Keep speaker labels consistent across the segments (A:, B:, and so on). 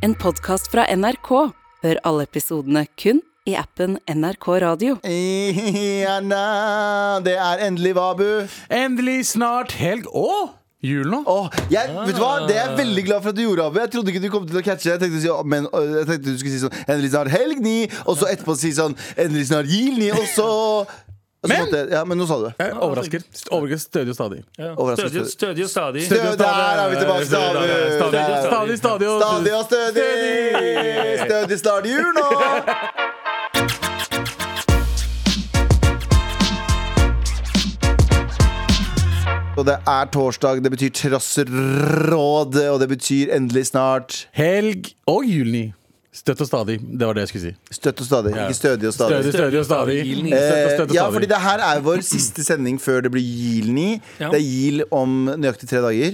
A: En podkast fra NRK. Hør alle episodene kun i appen NRK Radio.
B: Gjerne. Det er endelig Vabu.
C: Endelig snart helg og jul nå.
B: Åh, jeg, vet du hva? Det er jeg veldig glad for at du gjorde, Abu. Jeg trodde ikke du kom til å catche. Jeg tenkte, å si, «Å, men, øh, jeg tenkte du skulle si sånn Endelig snart helg ni, og så etterpå si sånn Endelig snart jul ni, og så og så
C: Men-
B: måtte jeg- Ja, men nå sa du det.
C: Jeg overrasker. St- Overrasker stødig og stadig.
D: Ja.
B: Overraskende
D: Stødig- Stødig og stadig.
B: Stødig og Der er vi tilbake, Stabu.
D: Stadig og stadig.
C: Stadig, stadig og
B: Stadig og stødig. Stødig snart jul nå. Og det er torsdag, det betyr Trasseråd, og det betyr endelig snart
C: Helg og julni. Støtt og stadig. Det var det jeg skulle si.
B: støtt og stadig. Ikke stødig og stadig.
C: Stødig, stødig og stadig.
D: Julni.
C: Støtt
B: Eh,
C: og støtt og
B: ja, fordi
C: stadig.
B: det her er vår siste sending før det blir Jilni.
D: Ja.
B: Det er Jil om nøyaktig tre dager.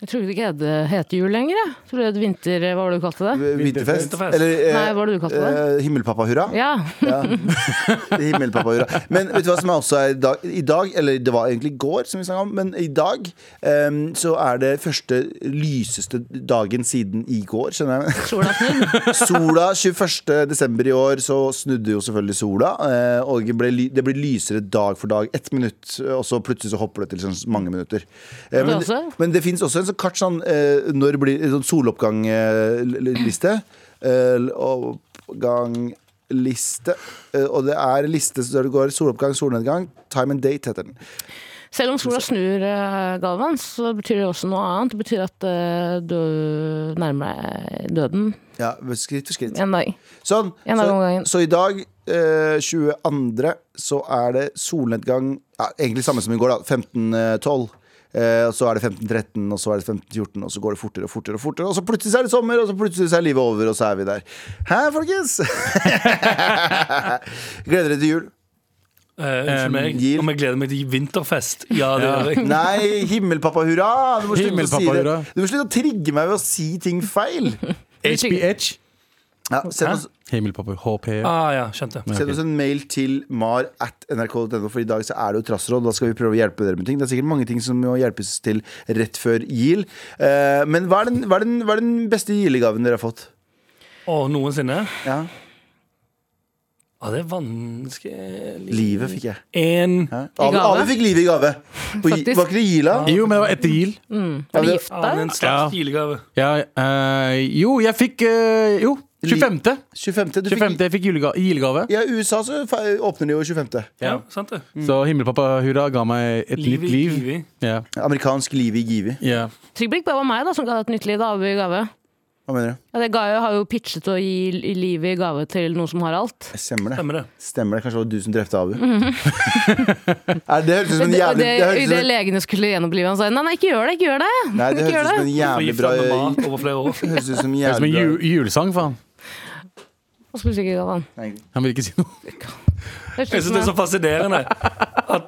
E: Jeg trodde ikke det het jul lenger. Jeg trodde det het vinter... Hva var det du kalte det?
B: Eh, Vinterfest.
D: Vinterfest.
B: Eller eh,
E: Nei, hva var det du kalte det?
B: eh, Himmelpappahurra.
E: Ja.
B: Himmelpappahurra. Men vet du hva som er også er i dag, i dag? Eller det var egentlig i går, som vi snakket om, men i dag em, så er det første lyseste dagen siden i går, skjønner jeg.
E: Sola snudd.
B: Sola 21. desember i år så snudde jo selvfølgelig sola. eh, Og ble, ly- det blir lysere dag for dag. Ett minutt, og så plutselig så hopper det til sånn mange minutter. Eh, Men,
E: også?
B: men det fins også en sånn kart sånn eh, når det blir sånn soloppgang-liste. Oppgang-liste. Eh, Og det er en liste der det går soloppgang, solnedgang. Time and date heter den.
E: Selv om sola snur, eh, Galvan, så betyr det også noe annet. Det betyr at eh, du nærmer deg døden
B: Ja, skritt for skritt.
E: en dag.
B: Sånn.
E: En dag
B: så,
E: om gangen.
B: så i dag, eh, 22., så er det solnedgang ja, Egentlig samme som i går, da. 15.12. Eh, og så er det 15.13, og så er det 15.14, og så går det fortere og fortere. Og fortere Og så plutselig så er det sommer, og så plutselig så er livet over, og så er vi der. Hæ, folkens? Gleder dere til jul?
D: Eh, Unnskyld meg.
B: Gil.
D: Om jeg gleder meg til vinterfest? Ja, det gjør jeg.
B: Nei, himmelpappa hurra! Du må slutte å si det.
C: Himmelpappa hurra.
B: Du må slutte å trigge meg ved å si ting feil.
C: HBH.
B: Ja, send oss
C: Himmelpappa. HP.
D: Ah, ja, skjønte.
B: Send oss en mail til mar at nrk.no, for i dag så er det jo trassråd. Da skal vi prøve å hjelpe dere med ting. Det er sikkert mange ting som må hjelpes til rett før GIL. Eh, men hva er den, hva er den, hva er den beste GIL-gaven dere har fått?
D: Og noensinne?
B: Ja.
D: Ja, det er vanskelig
B: Livet fikk jeg.
D: En
B: Hæ? Abu,
E: gave?
B: Abu fikk livet i gave. På, gi-
E: Faktisk.
B: var ikke det GIL-a?
C: Jo, men det var etter jul.
E: Er du
B: det-
E: gift
D: annen
E: deg?
D: en slags
C: Ja.
D: julegave.
C: Ja, eh, jo, jeg fikk eh, Jo, 25.
B: 25. Du
C: 25.
B: fikk,
C: Jeg fikk julega- julegave.
B: ja, I USA så fe- åpner de jo 25.
D: Ja, sant det.
B: Mm.
C: Så himmelpappa hurra ga meg et
D: Liv
C: nytt
D: i
C: liv.
D: kiwi.
C: Ja.
B: Amerikansk liv i Givi.
C: ja.
E: Trygg blikk, det var meg da, som ga deg et nytt liv da, Abu, i gave.
B: Hva mener du?
E: Ja, det ga, jo- har jo pitchet å gi li- livet i gave til noen som har alt.
B: Stemmer det.
D: Stemmer det.
B: Stemmer det. Kanskje det var du som drepte Abu. Nei, det høres ut som en
E: Mhm. Det,
B: jævlig
E: og det,
B: det høres ut
E: det
B: som en-
E: legene skulle gjenopplive han sa nei, nei, ikke gjør det, ikke gjør det.
B: Nei, det høres ut
E: Ikke E- gjør
B: som en
D: For
B: jævlig
D: gift
B: bra
D: med mat over flere år.
B: Høres ut som en
C: Det er som
B: jævlig bra
C: en ju julesang, faen.
E: Og så plutselig ikke Galvan.
B: Nei.
C: Han vil ikke si noe.
E: Det er
D: Jeg synes det er så
E: slutten,
D: fascinerende at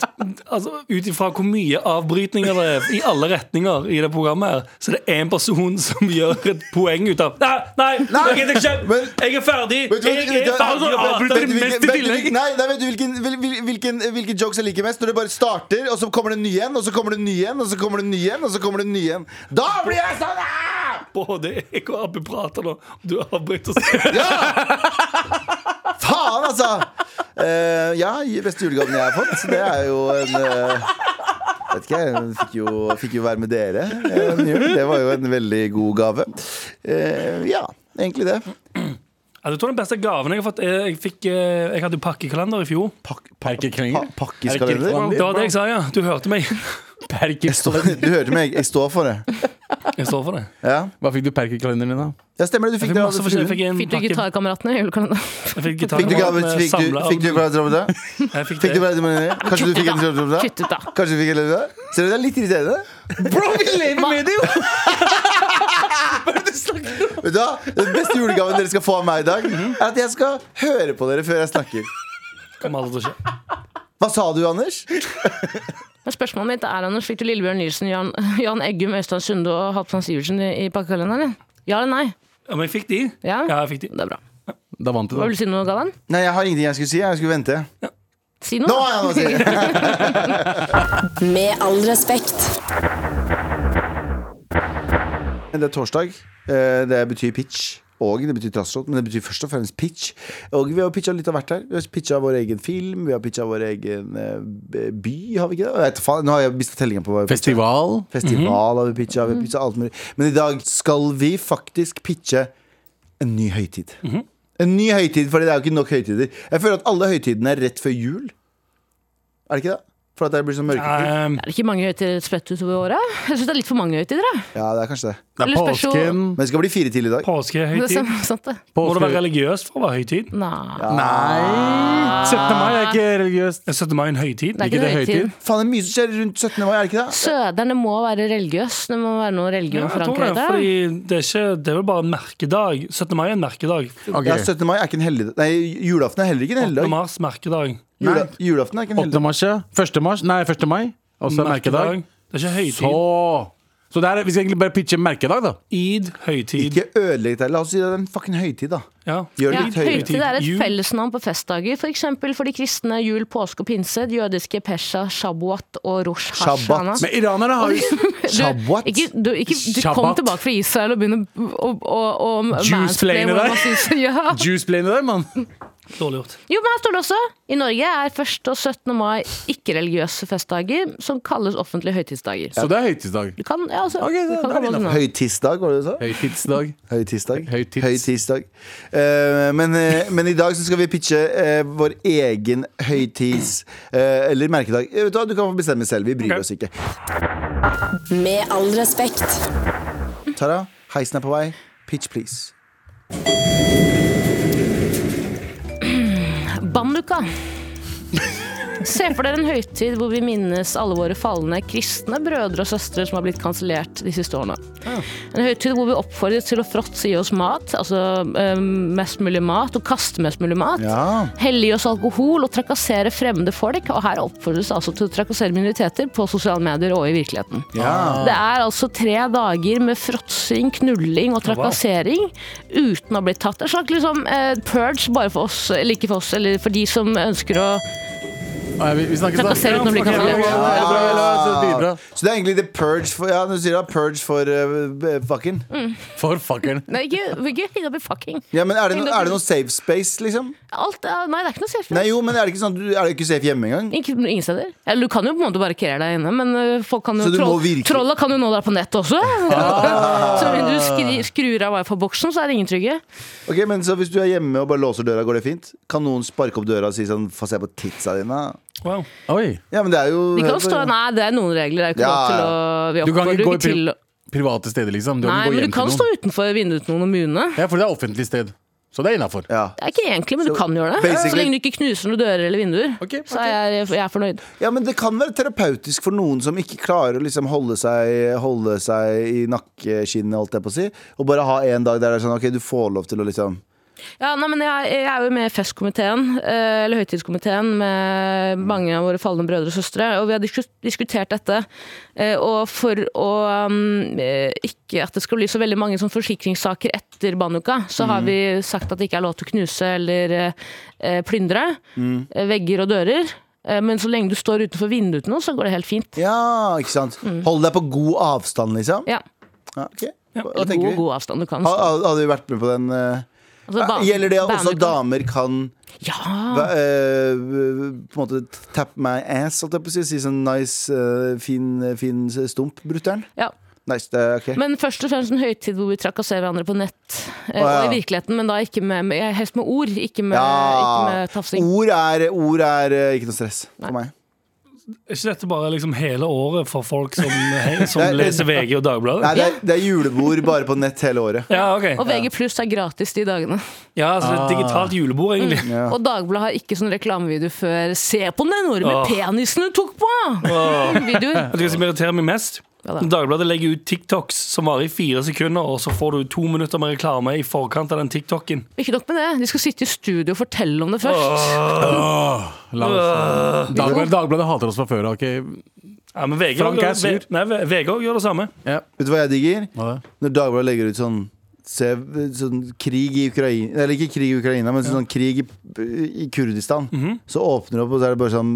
D: altså, ut ifra hvor mye avbrytninger det er i alle retninger i det programmet, her, så er det én person som gjør et poeng ut av Nei, nei,
B: Nei,
D: jeg gidder ikke!
B: men-
D: Jeg er ferdig!
B: Vet du hva-
D: Jeg er ferdig!
B: vet-
D: Jeg
B: vet-
D: avbryter
B: vet-
D: mest
B: vet-
D: i
B: vet-
D: tillegg!
B: Nei, nei, vet du hvilken, hvil- hvil- hvilken, hvilke jokes jeg liker mest? Når det bare starter, og så kommer det en ny en, og så kommer det en ny en, og så kommer det en ny en, og så kommer det en ny en. Da blir jeg sånn! ah!
D: Både jeg og Abu prater nå, og du avbryter oss.
B: Faen, altså! Eh, ja, beste julegaven jeg har fått, det er jo en eh, Vet ikke, jeg fikk jo, fikk jo være med dere eh, en jul. Det var jo en veldig god gave. Eh, ja, egentlig det.
D: Altså, jeg tror den beste gaven jeg har fått, er jeg, fikk, eh, jeg hadde jo pakkekalender i fjor.
B: Pakk-
C: Perkeklenger.
B: pa- Pakkeskalender.
D: Det var det jeg sa, ja. Du hørte meg.
C: Perkekalender.
B: Du hørte meg, jeg står for det.
D: Jeg står for det.
B: Ja,
C: Hva fikk du perkekalenderen din, da?
B: ja stemmer det. Du
D: Jeg
B: fikk
D: fikk,
B: det.
D: masse
B: av fruen.
D: forskjellig. Jeg fikk, en
E: Fikk du
D: pakke,
E: gitarkameratene i julekalenderen?
D: jeg fikk
B: Fikk du gave?
D: gitarkamerat
B: Fikk du,
D: samlet
B: fikk du
D: av-
B: fra Tromsø?
D: Jeg fikk
B: Fikk du
D: det.
B: fra Tromsø? Kanskje du fikk en Tromsø?
E: Kutt ut, da.
B: Kanskje du fikk en Tromsø? Ser du, det er litt irriterende.
C: Bro, vi lever med det, jo!
B: Vet du hva? Den beste julegaven dere skal få av meg i dag,
D: Mhm.
B: er at jeg skal høre på dere før jeg snakker.
D: Kommer aldri til å skje.
B: Hva sa du, Anders?
E: Men spørsmålet mitt er, Anders, fikk du Lillebjørn Nilsen, Jan, Jan Eggum, Øystein Sunde og Halvdan Sivertsen i, i pakkekalenderen? din? Ja eller nei?
D: Ja, men jeg fikk de.
E: Ja?
D: Ja, jeg fikk de.
E: Det er bra.
C: Da vant du,
E: Hva
C: da.
E: vil du si noe, Galvan?
B: Nei, jeg har ingenting jeg skulle si. Jeg skulle vente.
E: Si
B: Nå
E: noe.
B: har jeg noe å si!
A: Med all respekt.
B: Men Det er torsdag. Eh, Det betyr pitch. Og det betyr trasslåt, men det betyr først og fremst pitch. Og vi har pitcha litt av hvert her. Vi har pitcha vår egen film, vi har pitcha vår egen eh, b- by, har vi ikke det? Jeg vet faen, Nå har jeg mista tellinga på hva vi pitchet.
C: Festival.
B: Festival har vi pitcha, vi har pitcha alt mulig. Men i dag skal vi faktisk pitche en ny høytid. En ny høytid, for det er jo ikke nok høytider. Jeg føler at alle høytidene er rett før jul. Er det ikke det? For at det blir sånn mørketid.
D: Eh,
E: Er det ikke mange høytider spredt utover året? Jeg syns det er litt for mange høytider. jeg.
B: Ja, det er kanskje det.
C: Det er
E: Eller special-
C: påsken.
B: Men det skal bli fire til i dag.
E: Det er
D: Påskehøytid.
E: sant- sant det.
D: Må det
C: påske-
D: være religiøst for å være høytid?
E: Nei.
C: Nei! 17. mai er ikke religiøst.
D: Er 17. mai en høytid?
E: Det er ikke
C: Ikke
E: en
C: det
E: høytid.
C: høytid?
B: Faen, det er mye som skjer rundt 17. mai, er det ikke det?
E: Søderne må være religiøse. Det må være noe religion
D: Ja, jeg tror
E: forankret
D: det,
E: der.
D: fordi det er, ikke, det er vel bare en merkedag. 17. mai er en merkedag.
C: Ok.
B: Ja, 17. mai er ikke en helligdag. Nei, julaften er heller ikke en
D: 8.
B: helligdag.
D: mars, merkedag.
B: Jula, julaften er ikke en
C: 8.
B: helligdag.
C: mars, ja. 1. mars. Nei, 1. mai. Også merkedag.
D: Det er ikke
C: Så
D: høytid.
C: Så det er, vi skal egentlig bare pitche merkedag, da.
D: Eid, høytid.
B: Ikke ødelegg det. La oss si det er en fucking høytid, da.
D: Ja.
B: Gjør det
E: Ja,
B: litt høyere.
E: høytid er et
D: Jul.
E: fellesnavn på festdager, f.eks. For, for de kristne jul, påske og pinse, de jødiske pesha, shabwat og rosh hashana.
B: Shabbat.
C: Men iranere har jo
B: Shabbat?
E: Du, ikke, du, ikke, du kom
C: Shabbat.
E: tilbake fra Israel og begynner å, å, å
C: Juiceplane
E: hvordan
C: der.
E: man synes- Ja.
C: juiceplane der, mann.
D: Dårlig gjort.
E: Jo, men her står det også i Norge er 1. og 17. mai ikke-religiøse festdager som kalles offentlige høytidsdager.
C: Så det er høytidsdag.
E: Du kan, ja, altså,
C: Ok,
E: du
C: da-
E: kan
C: da er
E: komme sånn
C: vi
E: oss unna.
B: Høytidsdag, var det det du sa?
C: Høytidsdag.
B: Høytidsdag.
C: Høytids.
B: Høytidsdag. Eh, men, eh, men i dag så skal vi pitche eh, vår egen høytids- eh, eller merkedag. Eh, Vet Du hva, du kan få bestemme selv. Vi bryr
D: Ok.
B: oss ikke.
F: Med all respekt.
B: Tara, heisen er på vei. Pitch, please.
E: Banduka. Se for dere en høytid hvor vi minnes alle våre falne kristne brødre og søstre som har blitt kansellert de siste årene.
B: Ah.
E: En høytid hvor vi oppfordres til å fråtse i oss mat, altså eh, mest mulig mat, og kaste mest mulig mat.
B: Ja.
E: Helle i oss alkohol og trakassere fremmede folk. Og her oppfordres det altså til å trakassere minoriteter på sosiale medier og i virkeligheten.
B: Ja.
E: Det er altså tre dager med fråtsing, knulling og trakassering uten å bli tatt. En slags liksom, eh, purge bare for oss, eller ikke for oss, eller for de som ønsker å
C: Nei, Vi, vi snakkes, da.
E: trakassere uten å bli
C: Ja, bra,
E: kansellert.
C: bra, la oss bidra.
B: Så det er egentlig the purge for Ja, du sier det, purge for eh, fucking.
C: For fuckeren.
E: Nei, ikke, ikke henge opp i fucking.
B: Ja, men er det, no, er det noe safe space, liksom?
E: Alt, er- nei, det er ikke noe safe.
B: Nei, jo, men er det ikke sånn at du er det ikke safe hjemme engang?
E: Ikke, ingen steder. Eller du kan jo på en måte barrikere deg inne, men eh, folk kan jo
B: Så du må
E: troll,
B: virkelig- Ah.
E: trolla kan jo nå deg på nettet også. så hvis du skri, skrur av wifi-boksen, så er det ingen trygge.
B: Ok, men så Hvis du er hjemme og bare låser døra, går det fint? Kan noen sparke opp døra og si sånn Få se på titsa dine?
D: Wow.
C: Oi.
B: Ja, men det er jo eh,
E: De kan jo stå, nei, det er noen regler. Det er jo ikke
B: Ja,
E: lov til å
C: Du
E: vi
C: kan
E: oppfordrer
C: ikke gå i
E: ikke til
C: pri private steder, liksom. Du kan
E: Nei,
C: ikke gå
E: men
C: hjem
E: du kan
C: til
E: stå
C: noen.
E: utenfor vinduet til noen og mune.
C: Ja, for det er offentlig sted. Så det er innafor.
B: ja.
E: Det er ikke egentlig, men du kan gjøre det.
B: basically-
E: Så lenge du ikke knuser noen dører eller vinduer.
C: Ok,
E: Så er jeg, jeg er fornøyd.
B: Ja, men det kan være terapeutisk for noen som ikke klarer å liksom holde, seg, holde seg i nakkeskinnet, holdt jeg på å si. Og bare ha en dag der det er sånn OK, du får lov til å liksom
E: Ja, nei, men jeg, jeg er jo med i festkomiteen, eh, eller høytidskomiteen, med mange av våre falne brødre og søstre. Og vi har diskus- diskutert dette. eh, Og for å um, eh, ikke at det skal bli så veldig mange sånn forsikringssaker etter Banuka, så
B: Mm.
E: har vi sagt at det ikke er lov til å knuse eller eh, eh, plyndre
B: Mm.
E: eh, vegger og dører. Eh, Men så lenge du står utenfor vinduet til noe, så går det helt fint.
B: Ja, ikke sant? Hold deg på god avstand, liksom.
E: Mm. Ja,
B: Ja, ok. Hva
E: I
B: tenker
E: god,
B: vi?
E: god avstand. Du kan
B: Ha-
E: stå.
B: ha- Hadde vi vært med på den eh,
E: Altså, ba-
B: Gjelder det at også
E: bandet- Ah.
B: damer kan
E: Ja!
B: Hva, eh, på en måte tap my ass, holdt jeg på å si. Si sånn nice, eh, fin, fin stump, brutter'n.
E: ja.
B: Nice, det er ok.
E: Men først og fremst en høytid hvor vi trakasserer hverandre på nett. eh,
B: Å, ja.
E: Og i virkeligheten, men da ikke med, med, helst med ord, ikke med, ikke
B: ja.
E: med tafsing.
B: Ord er, ord er eh, ikke noe stress for meg.
D: Er ikke dette bare liksom hele året for folk som, hei, som
B: Nei, det-
D: leser VG og
B: Nei,
D: Dagbladet?
B: det er, det er julebord bare på nett hele året.
D: Ja, ok
E: Og VG pluss er gratis de dagene.
D: Ja, så det er et digitalt julebord, egentlig.
E: Og Dagbladet har ikke sånn reklamevideo før 'Se på den
D: Åh.
E: enorme penisen du tok på!'
D: Åh. Vet
E: Videoer.
D: du hva som irriterer meg mest?
E: Ja da.
D: Dagbladet legger ut TikToks som varer i fire sekunder, og så får du to minutter med reklame i forkant av den TikToken.
E: Ikke nok med det, de skal sitte i studio og fortelle om det først.
C: La oss- Dagbladet, Dagbladet hater oss fra før av. Okay?
D: Ja, men VG
C: Frank
D: også-
C: er sur.
D: Nei, VG også gjør det samme.
C: Ja.
B: Vet du hva jeg digger?
C: hva da?
B: Når Dagbladet legger ut sånn se, sånn krig i Ukraina Eller ikke krig i Ukraina, men sånn krig i, i Kurdistan.
E: Mhm.
B: Så åpner det opp, og så er det bare sånn,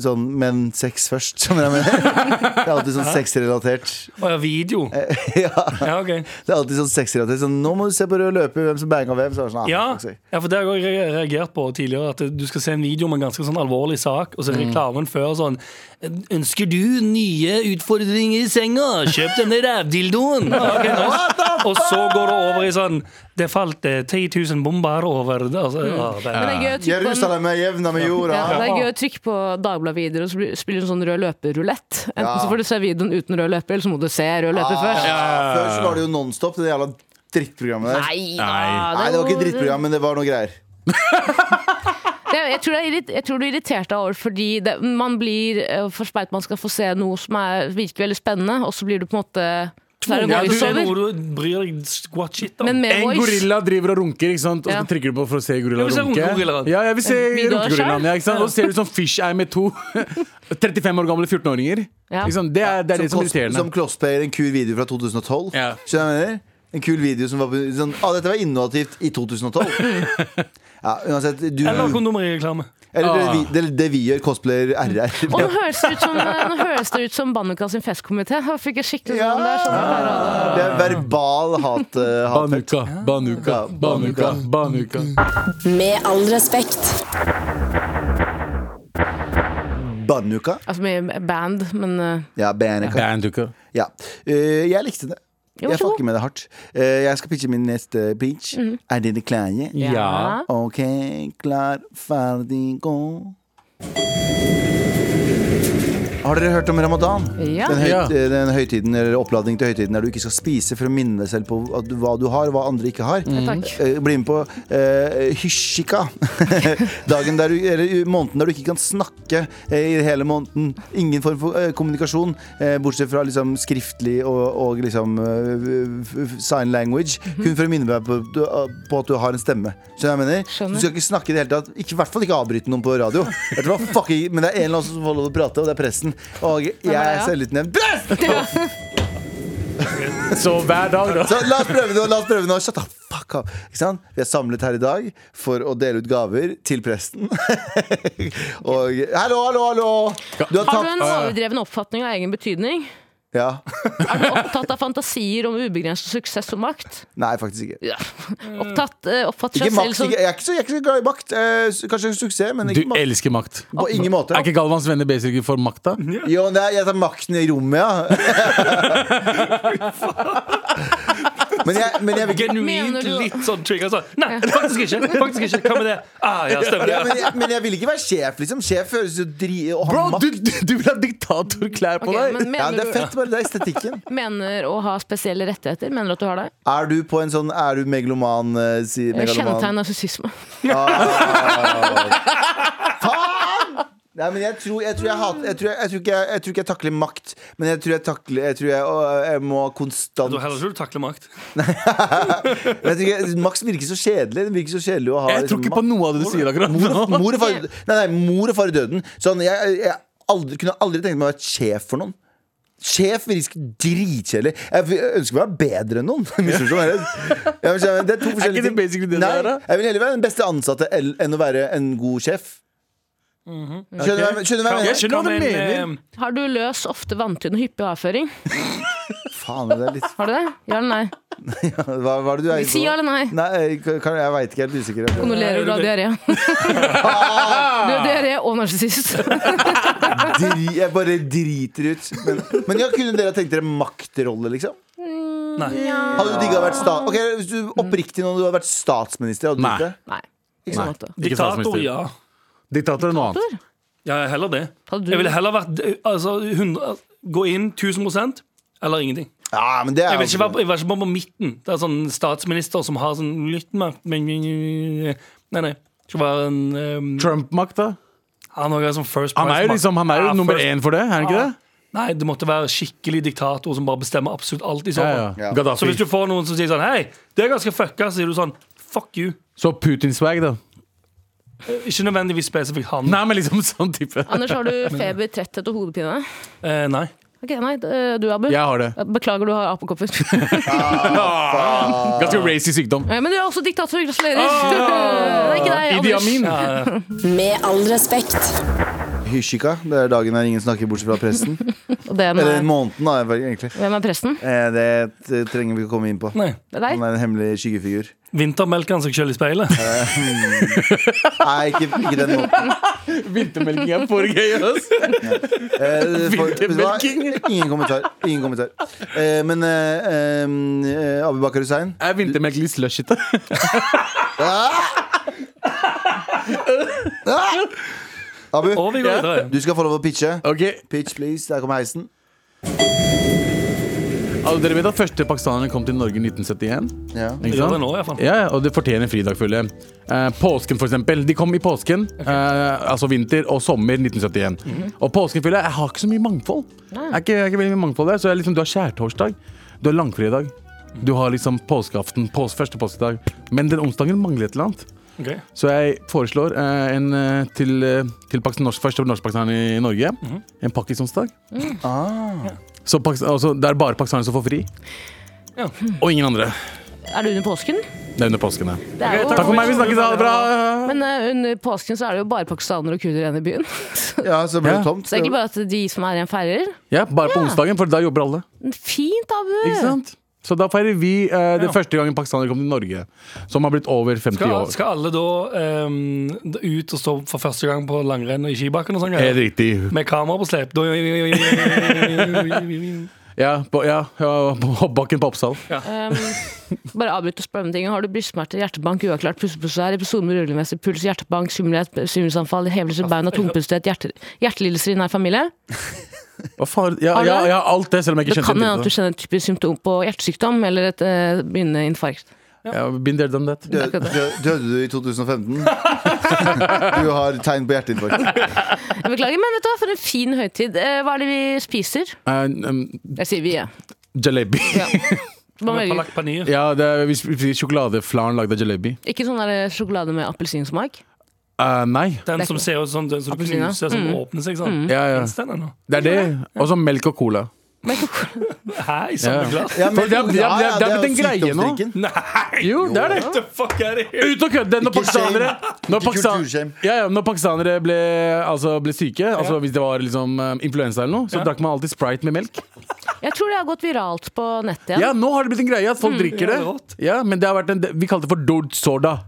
B: sånn Men sex først, skjønner du hva jeg mener? Det er alltid sånn sexrelatert.
D: Å ja, video.
C: Eh,
B: Ja.
D: Ja, ok.
B: Det er alltid sånn sexrelatert. Sånn, nå må du se på rød løper, hvem som banga hvem. Så er det sånn, ah,
D: Ja,
B: fuck sake.
D: ja, for det har jeg re- reagert på tidligere. At du skal se en video om en ganske sånn alvorlig sak, og så er reklamen før sånn Ønsker du nye utfordringer i senga? Kjøp denne rævdildoen! Ja, ok, nice. Og så går det over i sånn Det falt eh, 10 000 bomber over det, altså, ja, det
E: Men det
D: er,
E: er gøy å trykke på en
B: Jerusalem er jevna med ah. jorda.
E: ja, det er gøy å trykke på Dagbladet-videoer og så blir- spille en sånn rød løper-rulett. Enten
B: Ja.
E: så får du se videoen uten rød løper, eller så må du se rød løper først.
B: Ah, Før så var det jo Nonstop, det jævla drittprogrammet der. Nei,
E: Nei da!
B: det, var ikke drittprogram, men det var noe greier.
E: Det, jeg, tror det er, irrit- jeg tror du er irritert deg over fordi det, man blir eh, forspeilt man skal få se noe som er, virker veldig spennende, og så blir du på en måte så er det
D: ja, du ser
E: voiceover.
D: noe du bryr deg squat shit om.
E: Men med
C: En
E: voice.
C: gorilla driver og runker, ikke sant? og så
E: Ja.
C: trykker du på for å se gorilla
D: Jeg vil se
C: runke.
D: runkegorillaen.
C: Ja, jeg vil se
E: Video av
C: runkegorillaen.
E: skjær.
C: Ja, ikke sant? og så ser du sånn fisheye med to 35 år gamle 14-åringer.
E: Ja.
C: Ikke sant? Det er det, er det som
B: Som, Cross-
C: er
B: som
C: irriterende.
B: Crossplayer, en kul video fra 2012.
C: Ja.
B: Skjønner du hva jeg mener? En kul video som var på- sånn ah, dette var innovativt i 2012. Ja, uansett, du
D: Eller
B: Eller
D: kondomerireklame.
B: det,
C: Ah.
B: vi, det, det vi gjør, cosplayer RR.
E: Og nå høres det ut som, eh, nå høres det ut som Banuka sin festkomité. Her fikk jeg skikkelig sånn det er sånn jeg pleier å ha det.
B: Det er verbal hat. eh, hatfelt.
C: Banuka, banuka,
B: Ja,
C: banuka, banuka.
F: Med all respekt.
B: Banuka.
E: Altså med band, men eh,
B: Ja, Banuka.
C: Banuka.
B: Ja. Eh, jeg likte det.
E: Jo,
B: jeg
E: så god. Mhm.
B: fucker med det hardt. Eh, jeg skal pitche min neste pitch. Er dere klare?
C: Ja.
B: OK, klar, ferdig, gå. Har dere hørt om ramadan?
E: Ja.
B: Den, høy,
C: Ja.
B: den høytiden, eller oppladning til høytiden der du ikke skal spise for å minne deg selv på at du, hva du har, og hva andre ikke har.
E: takk.
B: Eh, Bli med på eh, hyshika. Dagen der du, eller i måneden der du ikke kan snakke eh, i hele måneden. Ingen form for eh, kommunikasjon, eh, bortsett fra liksom skriftlig og, og liksom eh, f- f- sign language.
E: Mhm.
B: Kun for å minne deg på, du- eh, på at du har en stemme. Skjønner du hva jeg mener?
E: Skjønner.
B: Du skal ikke snakke i det hele tatt. Ikke, I hvert fall ikke avbryte noen på radio. Vet du hva? Fuck, jeg- men det er en eller annen som holder på å prate, og det er presten. Og jeg er
E: ja.
B: selvutnevnt prest!
C: Så hver dag, da.
B: Så la oss prøve nå, la oss prøve nå Shut the fuck up Ikke sant? Vi er samlet her i dag For å dele ut gaver til presten Og Hallo, hallo, hallo Du har
E: Har du en
B: tapt
E: overdreven oppfatning av egen betydning?
B: Ja
E: Er du opptatt av fantasier om ubegrenset suksess og makt?
B: Nei, faktisk ikke
E: Ja. Opptatt, eh,
B: Mm.
E: oppfatter
B: Ikke
E: seg selv
B: makt
E: som
B: ikke, jeg, er ikke så, jeg er ikke så glad i makt eh, s- Kanskje suksess, men
C: Du
B: ikke makt
C: elsker makt.
B: På ingen måte
C: Er ikke Galvans venner basic for makta?
B: Jo, nei, jeg tar makten i rommet, ja Men jeg, men jeg vil ikke
E: Mener
D: Genuint
E: du-
D: litt sånn trigger. Sånn. Nei, faktisk ikke! faktisk ikke Hva med det? Ah, ja, stemmer det.
B: ja,
D: Ja.
B: men, jeg, men jeg vil ikke være sjef, liksom Sjef høres jo dri og ha
C: Bro,
B: makt
C: du, du, du vil ha diktatorklær på
E: Ok,
C: deg!
E: men
B: Ja, det
E: mener,
B: er
E: du,
B: fett bare det er estetikken
E: mener å ha spesielle rettigheter? Mener du at du har det?
B: Er du på en sånn Er du megaloman? eh, Si,
E: Kjennetegn
B: megaloman?
E: narsissisme.
B: Nei, men jeg tror jeg, tror jeg, hater, jeg, tror jeg, jeg, tror ikke jeg, jeg tror ikke jeg takler makt, men jeg tror jeg takler Jeg tror jeg, å, jeg må konstant
D: Du heller ikke du takler makt.
B: Men jeg tror ikke, Max virker så kjedelig. Den virker så kjedelig å ha
C: Jeg tror
B: liksom,
C: ikke på noe av det du sier akkurat
B: makt.
C: nå.
B: mor og far, nei, nei, mor og far i døden. Sånn, jeg, jeg aldri, kunne aldri tenkt meg å være sjef for noen. Sjef virker dritkjedelig. Jeg f- jeg ønsker meg å være bedre enn noen. Misforstå meg rett. Ja, men skjønner jeg, Det er to
C: ikke
B: forskjellige
C: det basically det det er, da?
B: Nei, jeg vil heller være den beste ansatte el- enn å være en god sjef. Skjønner du hva jeg- skjønner du hva jeg
C: Mhm. Jeg
B: mener?
C: skjønner hva du
D: Kan en,
C: mener.
D: eh,
E: Har du løs, ofte vanntynn og hyppig avføring?
B: Faen, det er litt
E: Har du det? Ja eller nei?
B: Hva hva er det du er inne på?
E: Si ja eller nei.
B: Nei, jeg kan- jeg veit ikke. Jeg er litt usikker.
E: Kondolerer du har diaré? Du har diaré og narsissist.
B: Dri, jeg bare driter ut. Men, men ja, kunne dere tenkt dere maktrolle, liksom?
D: Nei.
B: Hadde du digga å vært sta Ok, Hvis du oppriktig nå du hadde vært statsminister, hadde du
C: Nei.
B: gjort det?
E: Nei. Ikke sånn måte.
C: Ikke
D: Diktator,
C: statsminister.
D: ja.
C: Diktator er noe annet.
D: Ja, heller det.
E: Hadde du-
D: Jeg ville heller vært eh, altså, 100, Gå inn 1000 eller ingenting.
B: Ja, men det er
D: Jeg vil ikke være, på- jeg vil ikke være på midten. Det er sånn statsminister som har sånn litt makt men Nei, nei. Ikke være en ehm,
C: Trump-makt, da?
D: Han også er sånn first
C: Han er jo,
D: price-makt.
C: liksom, han er jo
D: Ja,
C: nummer
D: first-
C: én for det, er han ikke det?
D: Nei, det måtte være skikkelig diktator som bare bestemmer absolutt alt. i så
C: Ja,
D: fall.
C: ja.
B: Ja.
D: Så hvis
C: Gaddafi.
D: du får noen som sier sånn Hei, det er ganske fucka, så sier du sånn Fuck you.
C: Så Putin-swag, da.
D: Ikke nødvendigvis spesifikt han.
C: Nei, men liksom sånn type.
E: Anders, har du feber, tretthet og hodepine?
D: Eh, nei.
E: Ok, nei, eh, du Abu?
C: Jeg har det.
E: Beklager, du har apekopper.
B: Ah,
C: Ganske racy sykdom.
E: Eh, Men du er også diktator, gratulerer! det er ikke deg,
C: Ah! Idi
E: Anders.
C: Amin.
F: Med all respekt.
B: Hyshika. Det er dagen der ingen snakker bortsett fra presten.
E: Og det
B: Eller
E: med,
B: måneden, da, egentlig.
E: hvem er presten?
B: Eh, Det t- trenger vi ikke komme inn på.
D: Nei.
E: Det er
B: Han
E: deg?
B: er en hemmelig skyggefigur.
D: Vintermelker han seg sjøl i speilet?
B: Nei, ikke, ikke den måten.
C: Vintermelking er for gøy, ass.
B: Eh, for- vet du hva?
C: Vintermelking.
B: ingen kommentar. Ingen kommentar. Eh, men eh, eh, Abu Bakar Hussein
C: Er vintermelking litt slushete?
B: Ah! Abu,
D: Og vi går videre.
B: du skal få lov å pitche.
C: Ok,
B: Pitch, please. Der kommer heisen.
C: altså, Dere vet at første pakistanerne kom til Norge i 1971?
B: Ja.
C: Ikke
D: Vi gjør
C: sant?
D: det nå, i hvert fall.
C: Ja, ja, og det fortjener fridag, føler jeg. Eh, påsken, for eksempel. De kom i påsken. Eh, altså vinter og sommer 1971. Og påsken, føler jeg, jeg har ikke så mye mangfold. Jeg er ikke, jeg er ikke veldig mye mangfold der, så jeg, liksom, Du har skjærtorsdag, du har langfredag, du har liksom påskeaften, pås, første påskedag. Men den onsdagen mangler et eller annet.
D: Ok.
C: Så jeg foreslår eh, en eh, til, eh, til Pakistan, norsk, første norskpakistaner i Norge. En pakkisonsdag. Så Pakistan, altså, det er bare pakistanere som får fri.
D: Ja.
C: Og ingen andre.
E: Er det under påsken?
C: Det er under påsken, ja.
E: Det er
C: Takk for
E: jo,
C: meg, vi snakkes. Ha det bra.
E: men eh, under påsken så er det jo bare pakistanere og kurdere igjen i byen.
B: ja, så ble det
C: Ja.
B: tomt.
E: Så det er egentlig bare at de som er igjen, feirer.
C: Ja, bare på onsdagen, for da jobber alle.
E: Fint, Abu!
C: Ikke sant? Så da feirer vi eh, det
D: Ja.
C: første gangen pakistanere kom til Norge, som har blitt over 50
D: Skal,
C: år.
D: skal alle da ehm, ut og stå for første gang på langrenn og i skibakken og sånn?
C: Helt
D: greier?
C: riktig.
D: Med kamera på slep? Da-
C: Ja, på, ja, ja, på hoppbakken på Oppsal.
E: Um, bare avbryt og spør om ting. Har du brystsmerter, hjertebank, uavklart pusteprosesser, episoder med rullemessig puls, hjertebank, svimmelhet, svimmelsanfall, hevelse i beina, tungpustethet, hjerte, hjertelidelser i nær familie?
C: Hva faen? Ja,
E: Har du
C: ja,
E: det?
C: ja, alt det, selv om jeg
E: Det
C: ikke
E: kan
C: kjente
E: hende at du
C: til det.
E: kjenner et typisk symptom på hjertesykdom eller et eh, begynnende infarkt.
C: Ja, been there, done that.
B: Dø- dø- Døde du i 2015? Du har tegn på hjerteinfarkt.
E: Jeg beklager, men vet du hva, for en fin høytid. Eh, hva er det vi spiser?
C: Eh, um,
E: Jeg sier vi, jeg.
C: jalebi.
D: Med
E: Man velger
D: palak paneer.
C: Ja, det er, vi spiser sjokoladeflaren lagd av jalebi.
E: ikke sånn der sjokolade med appelsinsmak.
C: Eh, nei.
D: Den som ser ut sånn, den som du
E: Appelsiner.
D: knuser, som åpner seg sånn.
C: Ja, ja.
D: Finnes den ennå?
C: Det er det. Og så melk og cola.
D: Hæ, i samme
C: Ja.
D: glass?
B: Ja,
C: For det er- det er- det er- det er
B: jo
C: blitt en greie nå.
B: sykdomsdrikken.
D: Nei!
C: Jo, det er det.
D: What the fuck er det?
C: Ut og kødde! Når
B: Ikke
C: pakistanere,
B: shame.
C: når
B: Ikke
C: pakistan-
B: kulturshame.
C: ja, ja, når pakistanere ble, altså, ble syke, altså hvis det var liksom, eh, influensa eller noe, så
D: Ja.
C: drakk man alltid Sprite med melk.
E: Jeg tror det har gått viralt på nettet
C: Ja,
E: igjen.
C: nå har det blitt en greie at folk drikker
D: Mm. Ja, det er
C: det.
D: rått.
C: Ja, men det har vært en, det- vi kalte det for dod soda.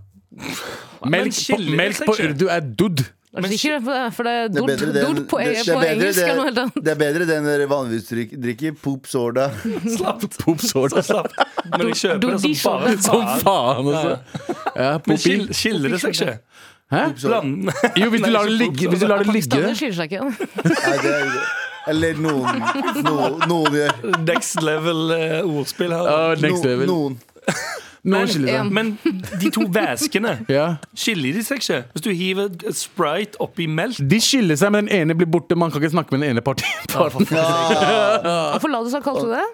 C: Melk, på,
D: skiller det
C: melk
D: seg
C: på
D: ikke?
C: urdu er dud.
E: Er du sikker? For- For det er
B: Det er
E: dord,
B: bedre det enn-
E: dord på, e-
B: det- det er
E: på
B: bedre
E: engelsk
B: det-
E: eller noe helt annet.
B: Det er bedre det enn dere vanligvis drik- drikker. Poop sorda.
D: Slapt.
C: Pop soda.
D: Så slapt. Men jeg kjøper det som
E: Dordisjon.
D: bare
C: Som
D: faen.
C: faen, altså. Ja,
D: Men
C: popi.
D: skil- skiller det seg ikke?
C: Hæ?
D: Bland-
C: Jo, hvis du
D: Nei,
C: lar det
D: ikke
C: ligge,
D: pop,
C: hvis du lar det
E: Standard
C: ligge
E: skiller seg ikke.
B: Nei, det er, eller noen, noen, noen gjør.
D: Next level eh, ordspill her.
C: Ja, Next
B: No,
C: level.
B: noen.
C: Nå skiller det.
D: Men de to væskene
C: Ja.
D: Skiller de seg ikke? Hvis du hiver et Sprite oppi melk
C: De skiller seg, men den ene blir borte. Man kan ikke snakke med den ene parten.
E: Hvorfor la du så kalte du det?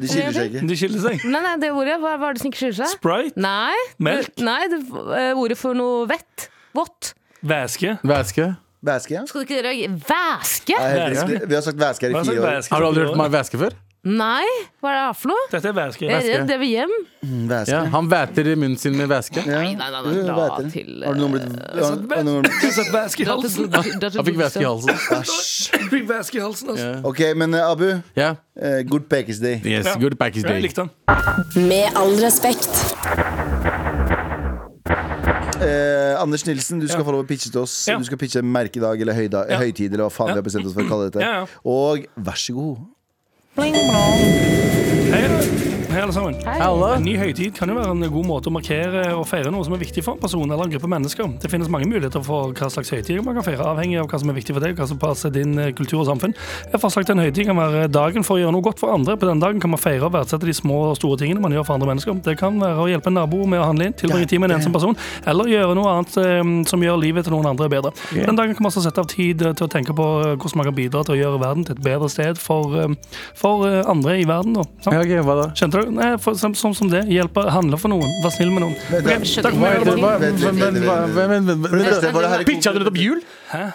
B: De skiller seg ikke.
D: De skiller seg.
E: Nei, nei, det ordet, hva, hva er det som ikke skiller seg?
D: Sprite,
E: Nei,
D: Melk?
E: Du, nei det, eh, ordet for noe vett. Vått.
D: væske.
C: Væske.
B: Væske, ja.
E: Skal du ikke reagere? Væske?
B: Nei, helt riktig. Vi har sagt væske her
D: Hva
B: i
D: er det
B: fire år.
D: som er væske?
C: Har du aldri hørt meg væske før?
E: Nei, hva er det her for noe?
D: Dette er væske.
E: Jeg er redd det vil hjem.
C: Ja,
B: Væske.
C: han væter i munnen sin med væske.
B: Ja.
E: Nei, nei, nei, nei,
B: Jo,
E: la
B: væter.
E: til, eh,
B: Har du noen blitt eh, har- har noen-
D: Satt væske i halsen.
C: Han fikk væske i halsen.
E: sånn-
D: Fikk væske i halsen, altså.
B: Ok, men eh, Abu,
C: Ja.
B: eh, good package day.
C: Yes, good package
D: Jeg
C: day.
D: likte den.
F: Med all respekt.
B: Eh, Anders Nilsen, du skal få lov å pitche til oss.
D: Ja.
B: Du skal pitche merkedag eller høyda,
D: Ja.
B: høytid, eller hva faen vi har bestemt oss for å kalle dette.
D: Ja, ja.
B: Og vær så god.
D: Hei, hei, alle sammen.
C: Hallo.
D: En ny høytid kan jo være en god måte å markere og feire noe som er viktig for en person eller en gruppe mennesker. Det finnes mange muligheter for hva slags høytid man kan feire, avhengig av hva som er viktig for deg, og hva som passer din eh, kultur og samfunn. Et forslag til en høytid kan være dagen for å gjøre noe godt for andre. På den dagen kan man feire og verdsette de små og store tingene man gjør for andre mennesker. Det kan være å hjelpe en nabo med å handle inn, tilbringe tid med en ensom person, eller gjøre noe annet eh, som gjør livet til noen andre bedre. Den dagen kan man også sette av tid eh, til å tenke på eh, hvordan man kan bidra til å gjøre verden til et bedre sted for, eh, for eh, andre i verden. Da, sant?
C: Ja, ok, hva da?
D: Skjønte du? Nei, for, som, sånn som det. Hjelpe, handle for noen. Vær snill med noen. Ok, takk for
C: Hva
D: meg.
C: heter det? Hva-
B: Vent, vent,
C: men-
B: vent,
C: hva-
B: vent,
C: men- men-
B: For det første,
C: men-
B: var det her i
C: Pitcha dere opp jul?
D: Nei.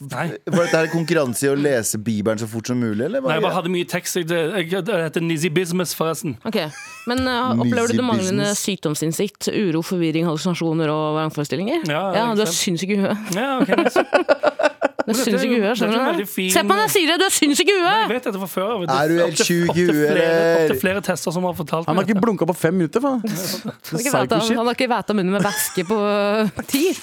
B: Var Eh, dette her konkurranse i å lese Bibelen så fort som mulig? Eller?
D: Nei, jeg bare hadde mye tekst. Jeg, jeg, jeg heter Nizzy Business, forresten.
E: Ok, Men eh, opplever du det manglende
B: business.
E: sykdomsinnsikt, uro, forvirring, hallusinasjoner og vrangforestillinger?
D: Ja, ikke
E: du er
D: sant.
E: sinnssyk i huet.
D: Ja, ok, nice.
E: Du er
D: dette er
E: sinnssyk i
D: jo-
E: huet, skjønner
D: dette er
E: du
D: veldig
E: det?
D: fin-
E: Se på meg når jeg sier det, du er sinnssyk i
D: Jeg
E: huet!
D: vet dette fra før. av.
B: Er du helt
D: Opptil-
B: sjuk i
D: opptil
B: huet,
D: flere-
B: eller?
D: Opptil flere tester som har fortalt
C: Han
D: meg
C: har ikke
D: dette.
C: blunka på fem minutter, faen.
E: Han har ikke vært av-
C: Psycho-shit.
E: han har ikke vært av munnen med væske på eh, ti.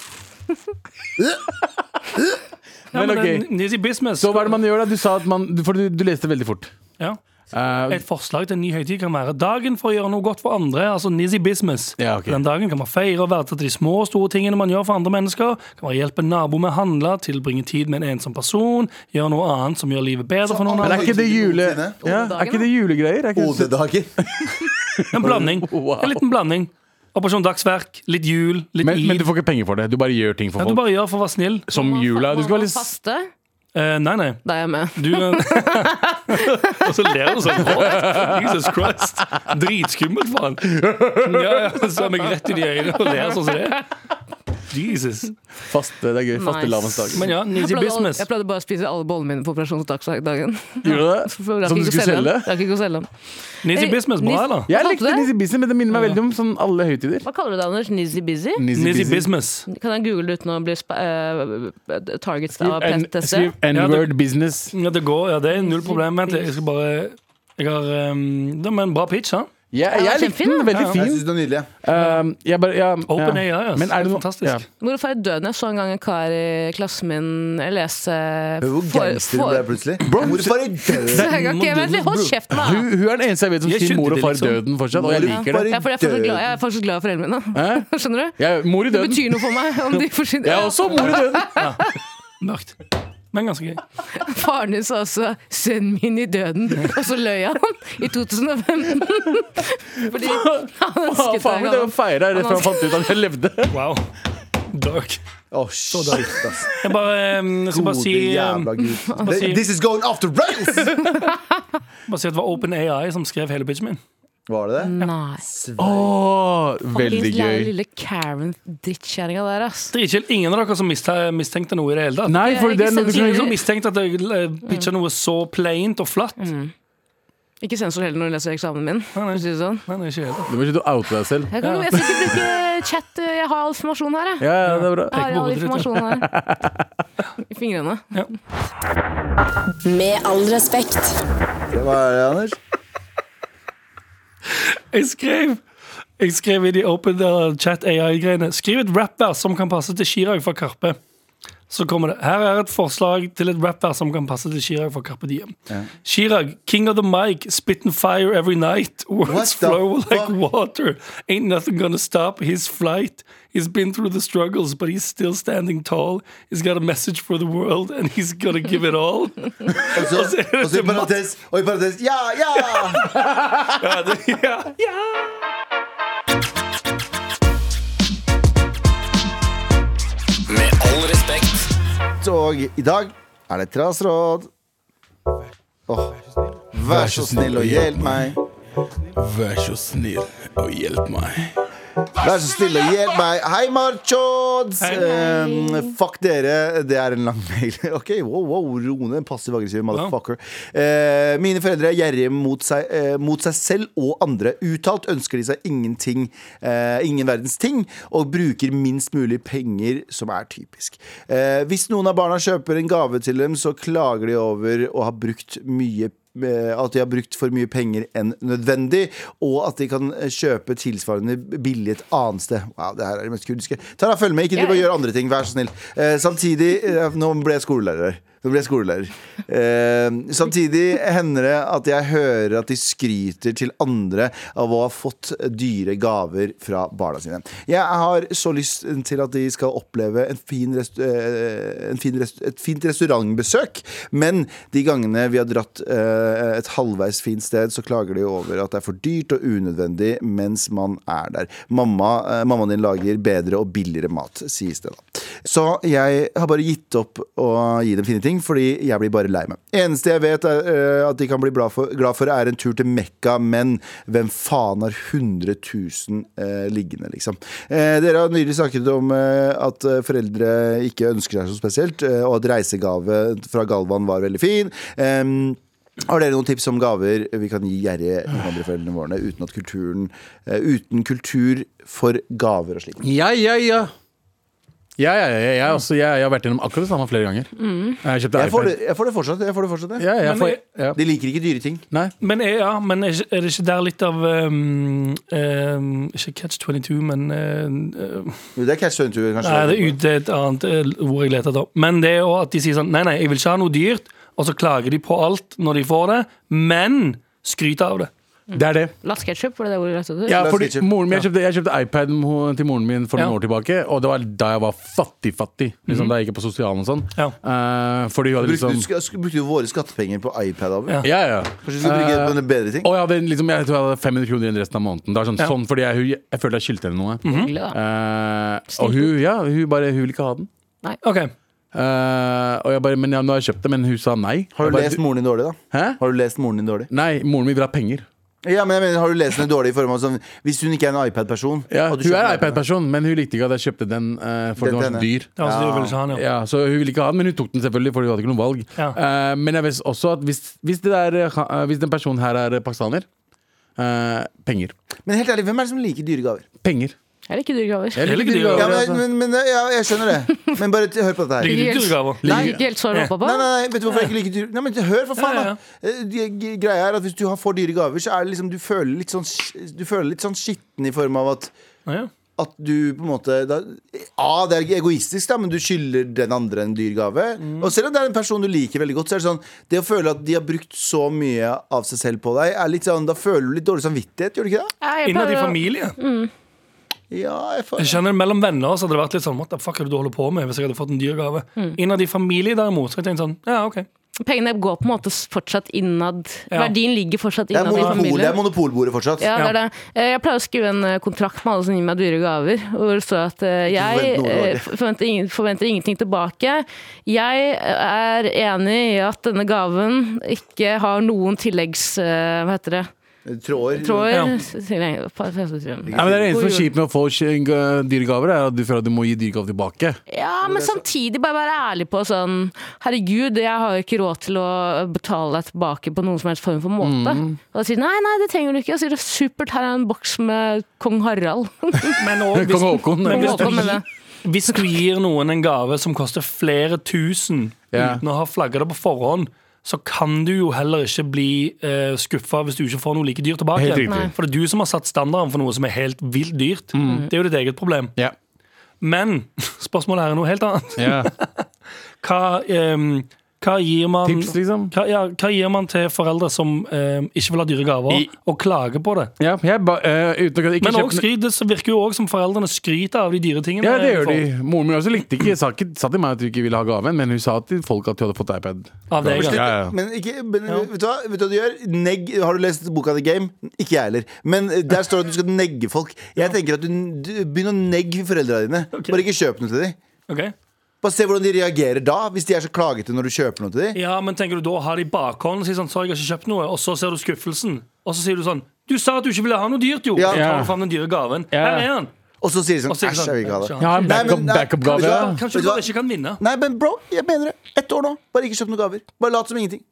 D: Ja, men
C: Men ok.
D: det er Nizzy Business.
C: Så hva er det man gjør da? Du sa at man du- For du, du leste veldig fort.
D: Ja.
C: Eh,
D: Et forslag til en ny høytid kan være dagen for å gjøre noe godt for andre. altså Nizzy Business.
C: Ja, ok.
D: Den dagen kan man feire og verdsette de små og store tingene man gjør for andre mennesker. Kan man hjelpe en nabo med å handle, tilbringe tid med en ensom person, gjøre noe annet som gjør livet bedre altså for noen
C: men
D: andre.
C: er ikke det jule... Ja, er ikke det julegreier? Er ikke det...
B: Odedager.
D: En blanding.
C: Wow.
D: En liten blanding. Operasjon Dagsverk, litt jul, litt
C: Men, men
D: id.
C: du får ikke penger for det. Du bare gjør ting for
D: Ja, du
C: folk.
D: bare gjør for å være snill.
C: Som jula. Du skal være litt s-
E: Faste?
D: Eh, nei, nei.
E: Da er jeg med.
D: Du eh, Og så ler du sånn. «Å, Jesus Christ. Dritskummelt, faen. Ja, ja, så er meg rett i de øynene og ler sånn som det. Jesus.
C: faste. Det er gøy. Faste
E: Nice.
C: lavensdag.
D: Men ja,
E: Jeg
D: Nizzy
E: pleide,
D: Business.
E: jeg pleide bare å spise alle bollene mine på operasjonsdagen.
C: Gjorde du det?
E: For jeg rakk
C: Som du
E: ikke å
C: skulle
E: selge
C: selge?
E: dem. Jeg rakk ikke å selge dem.
D: Nizzy
E: Eh,
D: Business, bra,
E: Niz-
D: eller?
C: Jeg
E: Hva kalte du
C: likte
E: det?
C: Nizzy Bizzy, men det minner meg veldig om sånn alle høytider.
E: Hva kaller du det, Anders? Nizzy Busy?
D: Nizzy Business.
C: Mm.
E: Kan jeg google det uten å bli spa- eh, targets av
C: N-
E: PTC?
C: Skriv N-word business.
D: Ja, det går. Ja, det er null problem. Vent, jeg skal bare Jeg har um, Det var en bra pitch, da.
C: Ja,
E: Ja,
C: jeg likte den.
E: kjempefin,
C: Veldig
B: Jeg
C: fin.
B: syns det var nydelig.
C: Um, jeg bare, ja,
D: Open AI,
C: ja.
D: ass.
C: Men er det noe
D: Fantastisk.
C: ja.
E: Hvorfor er jeg døden? Jeg så en gang en kar i klassen min Jeg leser
B: Hvor gangster du ble plutselig. Hvorfor er
E: Så
B: det?
E: jeg kan ikke- Vent litt, Hold kjeft med
C: Hun,
E: deg!
C: hun er den eneste jeg vet som
D: Jeg
C: sier
D: skjønte
C: mor og
D: det,
C: far
D: liksom.
C: døden fortsatt, og jeg liker det.
E: Jeg er, fordi jeg, er fortsatt glad, jeg er fortsatt glad i foreldrene mine.
C: Hæ?
E: Skjønner du?
C: Jeg, mor i
E: Det
C: døden.
E: betyr noe for meg om de forsvinner.
C: Jeg er også mor i døden.
D: Mørkt. Men ganske gøy.
E: Faren din sa også 'sønnen min i døden', og så løy han i 2015. Fordi han
C: Faen,
E: ønsket
C: faen, det er
E: det.
C: å feire rett før han fant ut at jeg levde.
D: Wow. Dark.
B: Å, shit, ass.
D: Jeg bare, um, jeg skal bare
B: Gode
D: si, um,
B: jævla gud.
D: si-
B: This is going off the rails!
D: bare si at det var Open AI som skrev hele pitchen min.
B: Var det det?
E: Nei.
C: Åh, veldig
E: Fuckings lære
C: gøy.
E: lille Karen-drittkjerringa der, ass.
D: Dritkjell. Ingen av dere som miste- mistenkte noe i det hele tatt.
C: Nei, for det er noe du
D: Ingen som
C: kan
D: mistenkte at jeg eh, pitcha noe så plaint og flatt.
C: Mm.
E: Ikke sensor heller når jeg leser eksamen min. for å si det Sånn.
D: Nei, det er ikke helt.
C: Du må ikke oute deg selv.
E: Jeg, kan, jeg skal ikke bruke chat, eh, jeg har all informasjon her, jeg.
C: Ja, ja, det er bra.
E: Jeg har all
D: hodet ditt,
E: informasjon her. I fingrene.
F: Med all respekt.
B: Hva er det, Anders?
D: Jeg skrev Jeg skrev i de open uh, chat AI-greiene Skriv et rappvers som kan passe til Chirag fra Karpe Så kommer det Her er et forslag til et rappvers som kan passe til Chirag fra Karpe Diem Chirag, king of the mic, spitting fire every night
B: What
D: Words
B: the
D: flow like
B: fuck?
D: water Ain't nothing gonna stop his flight He's been through the struggles But he's still standing tall He's got a message for the world And he's gonna give it all
B: Og så, og så i parentes, og i parentes Ja, ja!
D: Ja, det- ja.
G: Med all respekt.
B: Og i dag er det trassråd. Åh. Vær så snill og hjelp meg.
C: Vær så snill og hjelp meg.
B: Vær så snill og hjelp meg. Hei, Marchods! Um, fuck dere. Det er en lang mail. Ok, wow, wow, Rone. Passiv aggressiv motherfucker. Eh, mine foreldre er gjerrige mot seg, eh, mot seg selv og andre. Uttalt ønsker de seg ingenting, eh, ingen verdens ting, og bruker minst mulig penger, som er typisk. Eh, hvis noen av barna kjøper en gave til dem, så klager de over å ha brukt mye eh, at de har brukt for mye penger enn nødvendig, og at de kan eh, kjøpe tilsvarende billig et annet sted. Wow, det her er det mest kurdiske. Tara, følg med. Ikke driv og gjør andre ting, vær så snill. Eh, samtidig eh, Nå ble jeg skolelærer. Nå ble jeg skolelærer. Eh, samtidig hender det at jeg hører at de skryter til andre av å ha fått dyre gaver fra barna sine. Jeg har så lyst til at de skal oppleve en fin rest, eh, en fin rest, et fint restaurantbesøk, men de gangene vi har dratt eh, et halvveis fint sted, så klager de over at det er for dyrt og unødvendig mens man er der. Mamma, eh, mammaen din lager bedre og billigere mat, sies det da. Så jeg har bare gitt opp å gi dem fine ting, fordi jeg blir bare lei meg. Eneste jeg vet er, eh, at de kan bli glad for, glad for, er en tur til Mekka, men hvem faen har 100 000 eh, liggende, liksom? Eh, dere har nylig snakket om eh, at eh, foreldre ikke ønsker seg så spesielt, eh, og at reisegave fra Galvan var veldig fin. Eh, har dere noen tips om gaver vi kan gi gjerrige innvandrerforeldrene våre uten, at kulturen, eh, uten kultur for gaver og slikt?
C: Ja, ja, ja. Ja, ja, ja, ja, jeg, også, jeg, jeg har vært gjennom akkurat det samme flere ganger.
E: Mm.
C: Jeg kjøpte
B: Jeg får det,
C: iPad.
B: jeg får det fortsatt. Jeg får det fortsatt jeg.
C: Ja, jeg
D: Men
C: får,
D: jeg-
C: ja.
B: De liker ikke dyre ting.
C: Nei.
D: Men er, ja, men er, ikke- er det ikke der litt av um, um, Ikke catch 22, men uh, uh,
B: Jo, det er Catch 22, kanskje.
D: Nei, det er ute et annet uh, ord jeg leter etter. Men det er også at de sier sånn Nei, nei, jeg vil ikke ha noe dyrt. Og så klager de på alt når de får det, men skryter av det.
C: Det er det.
E: Latt sketsjup, var det det ordet jeg lette etter?
C: Ja,
B: Last
C: fordi
B: ketchup.
C: moren min, jeg, kjøpte, jeg kjøpte iPad mo- til moren min for noen
D: Ja.
C: år tilbake, og det var da jeg var fattig-fattig. Liksom, Da jeg gikk på sosialen og sånn.
D: Ja.
C: Eh, fordi hun hadde
B: Brukte
C: liksom
B: du, sk- sk- brukte du våre skattepenger på iPad? Abu?
D: Ja.
C: Ja, ja.
B: Kanskje du skulle bruke det på noen bedre ting?
C: Og jeg, hadde, liksom, jeg tror jeg hadde 500 kroner igjen resten av måneden. Det var sånn,
D: Ja.
C: sånn fordi jeg, hun- jeg følte jeg skyldte henne noe.
E: Hyggelig, da.
C: Eh, og hun, ja, hun bare Hun vil ikke ha den.
D: OK.
C: Eh, og jeg bare, men ja, nå har jeg kjøpt det, men hun sa nei.
B: Har
C: Jeg
B: du
C: bare,
B: lest moren din dårlig, da?
C: Hæ?
B: Har du lest moren din dårlig?
C: Nei, moren min vil ha penger.
B: Ja, men jeg mener, har du lest henne dårlig i form av sånn Hvis hun ikke er en iPad-person
C: Ja,
B: og
C: hun
B: du
C: er
B: kjøper-
C: iPad-person, men hun likte ikke at jeg kjøpte den eh, fordi
B: Den
C: den
B: til
C: var så
B: henne.
C: dyr.
D: Ja, så de altså vil ikke ha den, ja.
C: Ja, så hun ville ikke ha den, men hun tok den selvfølgelig, Fordi hun hadde ikke noe valg.
D: Ja.
C: Eh, men jeg vet også at hvis, hvis, det der, eh, hvis den personen her er pakistaner eh, Penger.
B: Men helt ærlig, hvem er det som liker dyre gaver?
C: Penger.
E: Jeg liker dyre gaver.
C: Jeg altså.
D: liker dyre
B: Ja,
D: gaver,
B: men, men, men ja, Jeg skjønner det, men bare t- hør på dette her.
D: Liker du
E: Yes.
D: gullgaver?
E: Nei, ikke helt sår å hoppe på.
B: Nei, nei, nei, vet du hvorfor jeg ikke liker dyre Nei, men Hør, for faen!
D: Ja, ja,
B: da Eh, de- g- Greia er at Hvis du har for dyre gaver, så er det liksom du føler litt sånn sk- Du føler litt sånn skitten i form av at
D: Ja.
B: at du på en måte da, A, det er egoistisk, da, men du skylder den andre en dyr gave. Og selv om det er en person du liker veldig godt, så er det sånn Det å føle at de har brukt så mye av seg selv på deg, er litt sånn Da føler du litt dårlig samvittighet, gjør du ikke det?
E: Nei, jeg
D: Innad i
E: pleier å- Mm.
D: familie.
B: Ja, jeg
D: Jeg
B: får
D: skjønner det Mellom venner så hadde det vært litt sånn What the fuck er det du holder på med? Hvis jeg hadde fått en dyr gave.
E: Mm.
D: Innad i familie, derimot, så har jeg tenkt sånn Ja, OK.
E: Pengene går på en måte fortsatt innad.
D: Ja.
E: Verdien ligger fortsatt
B: Det er,
E: innad i
B: monopol, det
E: familien.
B: er monopolbordet fortsatt.
E: Ja, det er
D: Ja.
E: det. Eh, Jeg pleier å skrive en eh, kontrakt med alle som gir meg dyre gaver. Hvor det står at eh, jeg
B: forventer noe
E: eh,
B: tilbake.
E: forventer, ingen, forventer ingenting tilbake. Jeg eh, er enig i at denne gaven ikke har noen tilleggs... eh, Hva heter det?
B: Tråder.
E: Tråder?
D: Ja.
E: Tillegg- pa- tillegg-
C: Nei, men det er det eneste som
E: God
C: er
E: jul.
C: kjipt med å få sk- eh, dyre gaver, er at du føler at du må gi dyre gaver tilbake.
D: Eh,
E: Ja, men samtidig bare være ærlig på sånn Herregud, jeg har jo ikke råd til å betale deg tilbake på noen som helst form for måte. Og da sier de, nei, nei, det trenger du ikke. Og så sier de, supert, her er en boks med kong Harald.
D: Men også,
C: Kong Haakon,
D: men
C: eller?
D: hvis, du,
E: Kong Haakon,
D: gir- hvis du gir noen en gave som koster flere tusen
C: Ja.
D: uten å ha flagga det på forhånd, så kan du jo heller ikke bli uh, skuffa hvis du ikke får noe like dyrt tilbake.
C: Helt riktig. Mm. Nei.
D: For det er du som har satt standarden for noe som er helt vilt dyrt. Det er jo ditt eget problem.
C: Ja.
D: Men spørsmålet her er noe helt annet.
C: Ja.
D: Hva, ehm, hva gir man
C: Tips, liksom.
D: hva, ja, hva gir man til foreldre som ehm, ikke vil ha dyre gaver,
C: I-
D: og klager på det?
C: Ja, jeg ba, eh, uten å ikke
D: Men også
C: kjøpe
D: skryt, det virker jo òg som foreldrene skryter av de dyre tingene.
C: ja, det gjør de.
D: får.
C: Moren min også likte ikke sa, ikke sa til meg at hun ikke ville ha gaven, men hun sa til folk at hun hadde fått iPad.
D: Av deg,
C: ja.
D: ja.
C: Ja, ja.
B: Men, ikke, men vet, du hva, vet du hva du gjør? Negg, har du lest boka The Game? Ikke jeg heller. Men eh, der står det at du skal negge folk. Jeg tenker at du, du Begynn å negge foreldra dine. Bare ikke kjøp noe til dem.
D: Ok.
B: Bare se hvordan de reagerer da, hvis de er så klagete når du kjøper noe til dem.
D: Ja, men tenker du da har de bakhånd og sier sånn, så har jeg ikke kjøpt noe, og så ser du skuffelsen, og så sier du sånn, du sa at du ikke ville ha noe dyrt, jo.
B: Ja.
D: Så tar
C: Ja.
D: du fram den dyre gaven.
C: Ja.
D: Her er den.
B: Og så sier de sånn
D: Og så er det
B: Æsj, jeg vil ikke ha
D: sånn,
B: det.
C: Jeg har en
B: Nei, men-
C: backup-
B: nei,
C: backup-gave.
B: vet du
C: ja.
B: hva?
D: Kanskje
B: Vet
D: du
B: du hva?
D: bare ikke kan vinne.
B: Nei, men bro, jeg mener det. Ett år nå. Bare ikke kjøp noen gaver. Bare lat som ingenting.